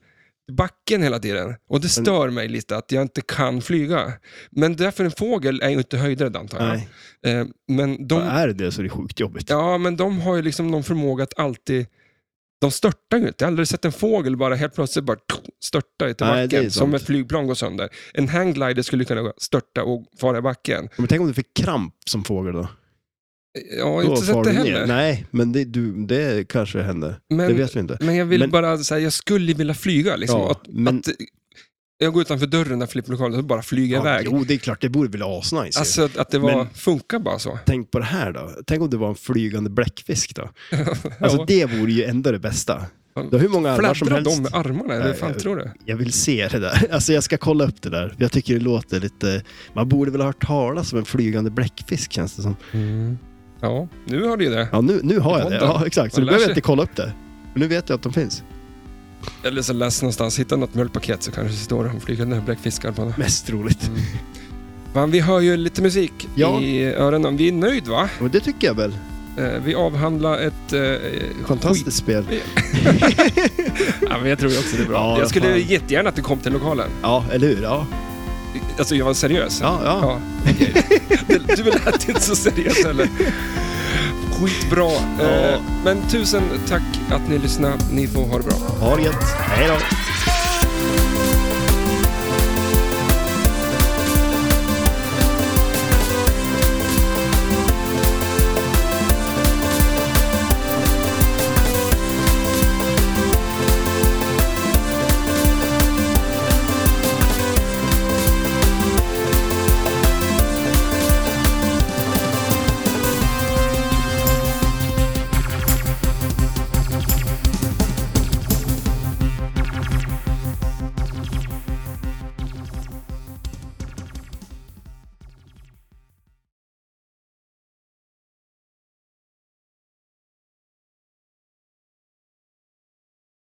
backen hela tiden och det stör mig lite att jag inte kan flyga. Men därför en fågel är ju inte höjdrädd antar jag.
Nej,
Eh, Men
vad
de,
är det så är det sjukt jobbigt.
ja, men de har ju liksom någon förmåga att alltid de störtar ju inte. Jag har aldrig sett en fågel bara helt plötsligt bara störta ut i
Nej, det är
backen, som
sant.
ett flygplan går sönder. En hangglider skulle kunna störta och fara i backen.
Men tänk om du fick kramp som fågel då?
Jag har inte
Då
sett
far
det
du ner.
heller.
Nej, men det, du, det kanske händer. det
Men,
vet vi inte.
men jag vill
Men-
bara säga, jag skulle vilja flyga. Liksom,
Ja,
att,
men-
att, jag går utanför dörren där flipplokalen och bara flyger iväg.
Jo, det är klart, det vore väl asnice. Alltså...
Alltså att- att det var,
Men-
funkar bara så.
Tänk på det här då. Tänk om det var en flygande
[LAUGHS]
bläckfisk då. Alltså
Ja.
det vore ju ändå det bästa. Då, hur många armar som
Fladdrar de
helst.
med armarna, eller
Nej,
fan
jag-
tror du?
Jag vill se det där. [LAUGHS] Alltså jag ska kolla upp det där. Jag tycker det låter lite... Man borde väl ha hört talas om en flygande bläckfisk känns det som.
Ja, nu har du ju det.
Ja, nu, nu har
I
jag det.
podden.
Ja, exakt. Så
Man
nu
lär
behöver
sig.
jag inte kolla upp det. Men nu vet jag att de finns.
Eller så läs någonstans, hitta något mjölkpaket så kanske det står om flygande bläckfiskar på det.
Mest troligt.
Mm. Men vi hör ju lite musik
Ja.
i öronen. Vi är nöjd va?
Och det tycker jag väl.
Eh, Vi avhandlar ett eh, skit...
Fantastiskt spel.
[LAUGHS] Ja, men jag tror ju också det är bra.
Ja,
jag skulle
fan.
jättegärna att du kom till lokalen.
Ja, eller hur? Ja.
Alltså jag var seriös.
Ja, ja.
Ja, okej.
[LAUGHS]
Det- Du lät inte så seriös heller. Skitbra.
Ja.
Eh, Men tusen tack att ni lyssnade. Ni får ha det bra.
Ha det gött. Hej då.
Thank